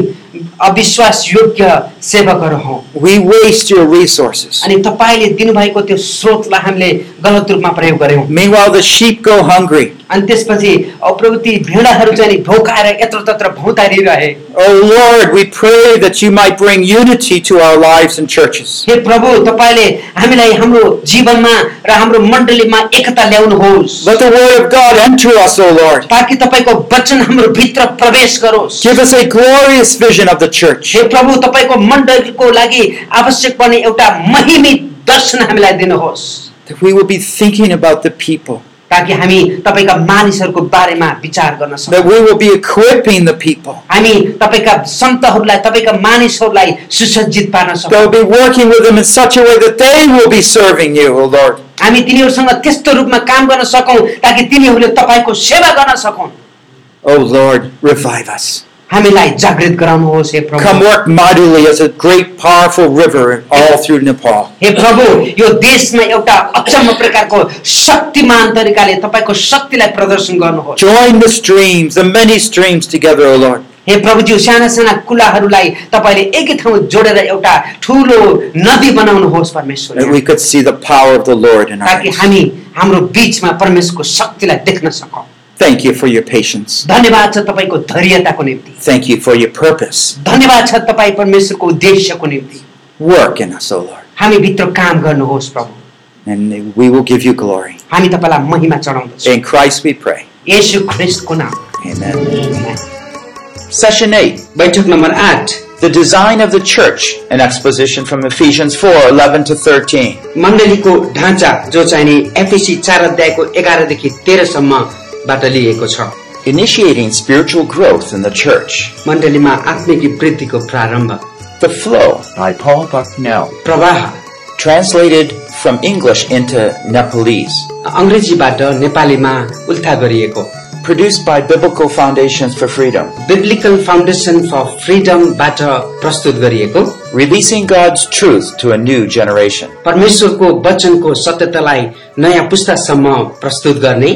S2: अविश्वास योग्य सेवकहरू हौ
S3: We waste your resources.
S2: अनि तपाईँले दिनुभएको त्यो स्रोतलाई हामीले गलत रूपमा प्रयोग गऱ्यौँ
S3: Meanwhile, the sheep go hungry.
S2: अनि त्यसपछि अप्रवृत्ति भेडाहरू चाहिँ नि भौकाएर यत्र तत्र भौतारिरहे
S3: Oh, Lord, we pray that you might bring unity to our lives and churches.
S2: हे प्रभु तपाईँले हामीलाई हाम्रो जीवनमा र हाम्रो मण्डलीमा एकता ल्याउनुहोस्
S3: Let the word of God enter us, O Lord.
S2: ताकि तपाईँको वचन हाम्रो भित्र प्रवेश गरोस्
S3: Give us a glorious vision of the church.
S2: हे प्रभु तपाईँको मण्डलीको लागि आवश्यक पर्ने एउटा महिमित दर्शन हामीलाई दिनुहोस्
S3: That we will be thinking about the people.
S2: ताकि हामी तपाईँका मानिसहरूको बारेमा विचार गर्न
S3: That
S2: सकौँ
S3: we will be equipping the people.
S2: हामी तपाईँका सन्तहरूलाई तपाईँका मानिसहरूलाई सुसज्जित पार्न
S3: That
S2: सकौँ
S3: we'll be working with them in such a way that they will be serving you, O Lord.
S2: हामी तिनीहरूसँग त्यस्तो रूपमा काम गर्न सकौँ ताकि तिनीहरूले तपाईँको सेवा गर्न सकौँ
S3: O Lord, revive us.
S2: हामीलाई जागृत गराउनुहोस् हे
S3: Come
S2: Prabhu
S3: work mightily as a great, powerful river all through Nepal.
S2: हे प्रभु यो देशमा एउटा अचम्म प्रकारको शक्तिमान तरिकाले तपाईँको शक्तिलाई प्रदर्शन गर्नुहोस्
S3: Join the streams, the many streams together, O Lord.
S2: हे प्रभुज्यू साना साना कुलाहरूलाई तपाईँले एकै ठाउँ जोडेर एउटा ठुलो नदी बनाउनुहोस् परमेश्वर
S3: That we could see the power of the Lord in our
S2: ताकि
S3: lives.
S2: हामी हाम्रो बिचमा परमेश्वरको शक्तिलाई देख्न सकौँ
S3: Thank you for your patience.
S2: धन्यवाद छ तपाईँको धैर्यताको निम्ति
S3: Thank you for your purpose.
S2: धन्यवाद छ तपाईँ परमेश्वरको उद्देश्यको निम्ति
S3: Work in us, O Lord.
S2: हामी भित्र काम गर्नुहोस् प्रभु
S3: And we will give you glory.
S2: हामी तपाईँलाई महिमा चढाउँदछौँ
S3: In Christ we pray.
S2: येशू ख्रिस्टको नाम
S3: Amen.
S5: Session 8
S2: बैठक नम्बर आठ
S5: The Design of the Church, an exposition from Ephesians 4 11 to 13.
S2: मण्डलीको ढाँचा जो चाहिने एफएसी चार अध्यायको एघारदेखि तेह्रसम्मबाट लिएको छ
S5: Initiating spiritual growth in the church.
S2: मण्डलीमा आत्मिक वृद्धिको प्रारम्भ
S5: The Flow by Paul Bucknell.
S2: प्रवाह
S5: Translated
S3: from English into Nepalese,
S2: अङ्ग्रेजीबाट नेपालीमा उल्था गरिएको
S3: produced by Biblical Foundations for Freedom,
S2: Biblical Foundation for फ्रिडमबाट प्रस्तुत गरिएको
S3: releasing God's truth to a new generation.
S2: परमेश्वरको वचनको सत्यतालाई नयाँ पुस्तासम्म प्रस्तुत गर्ने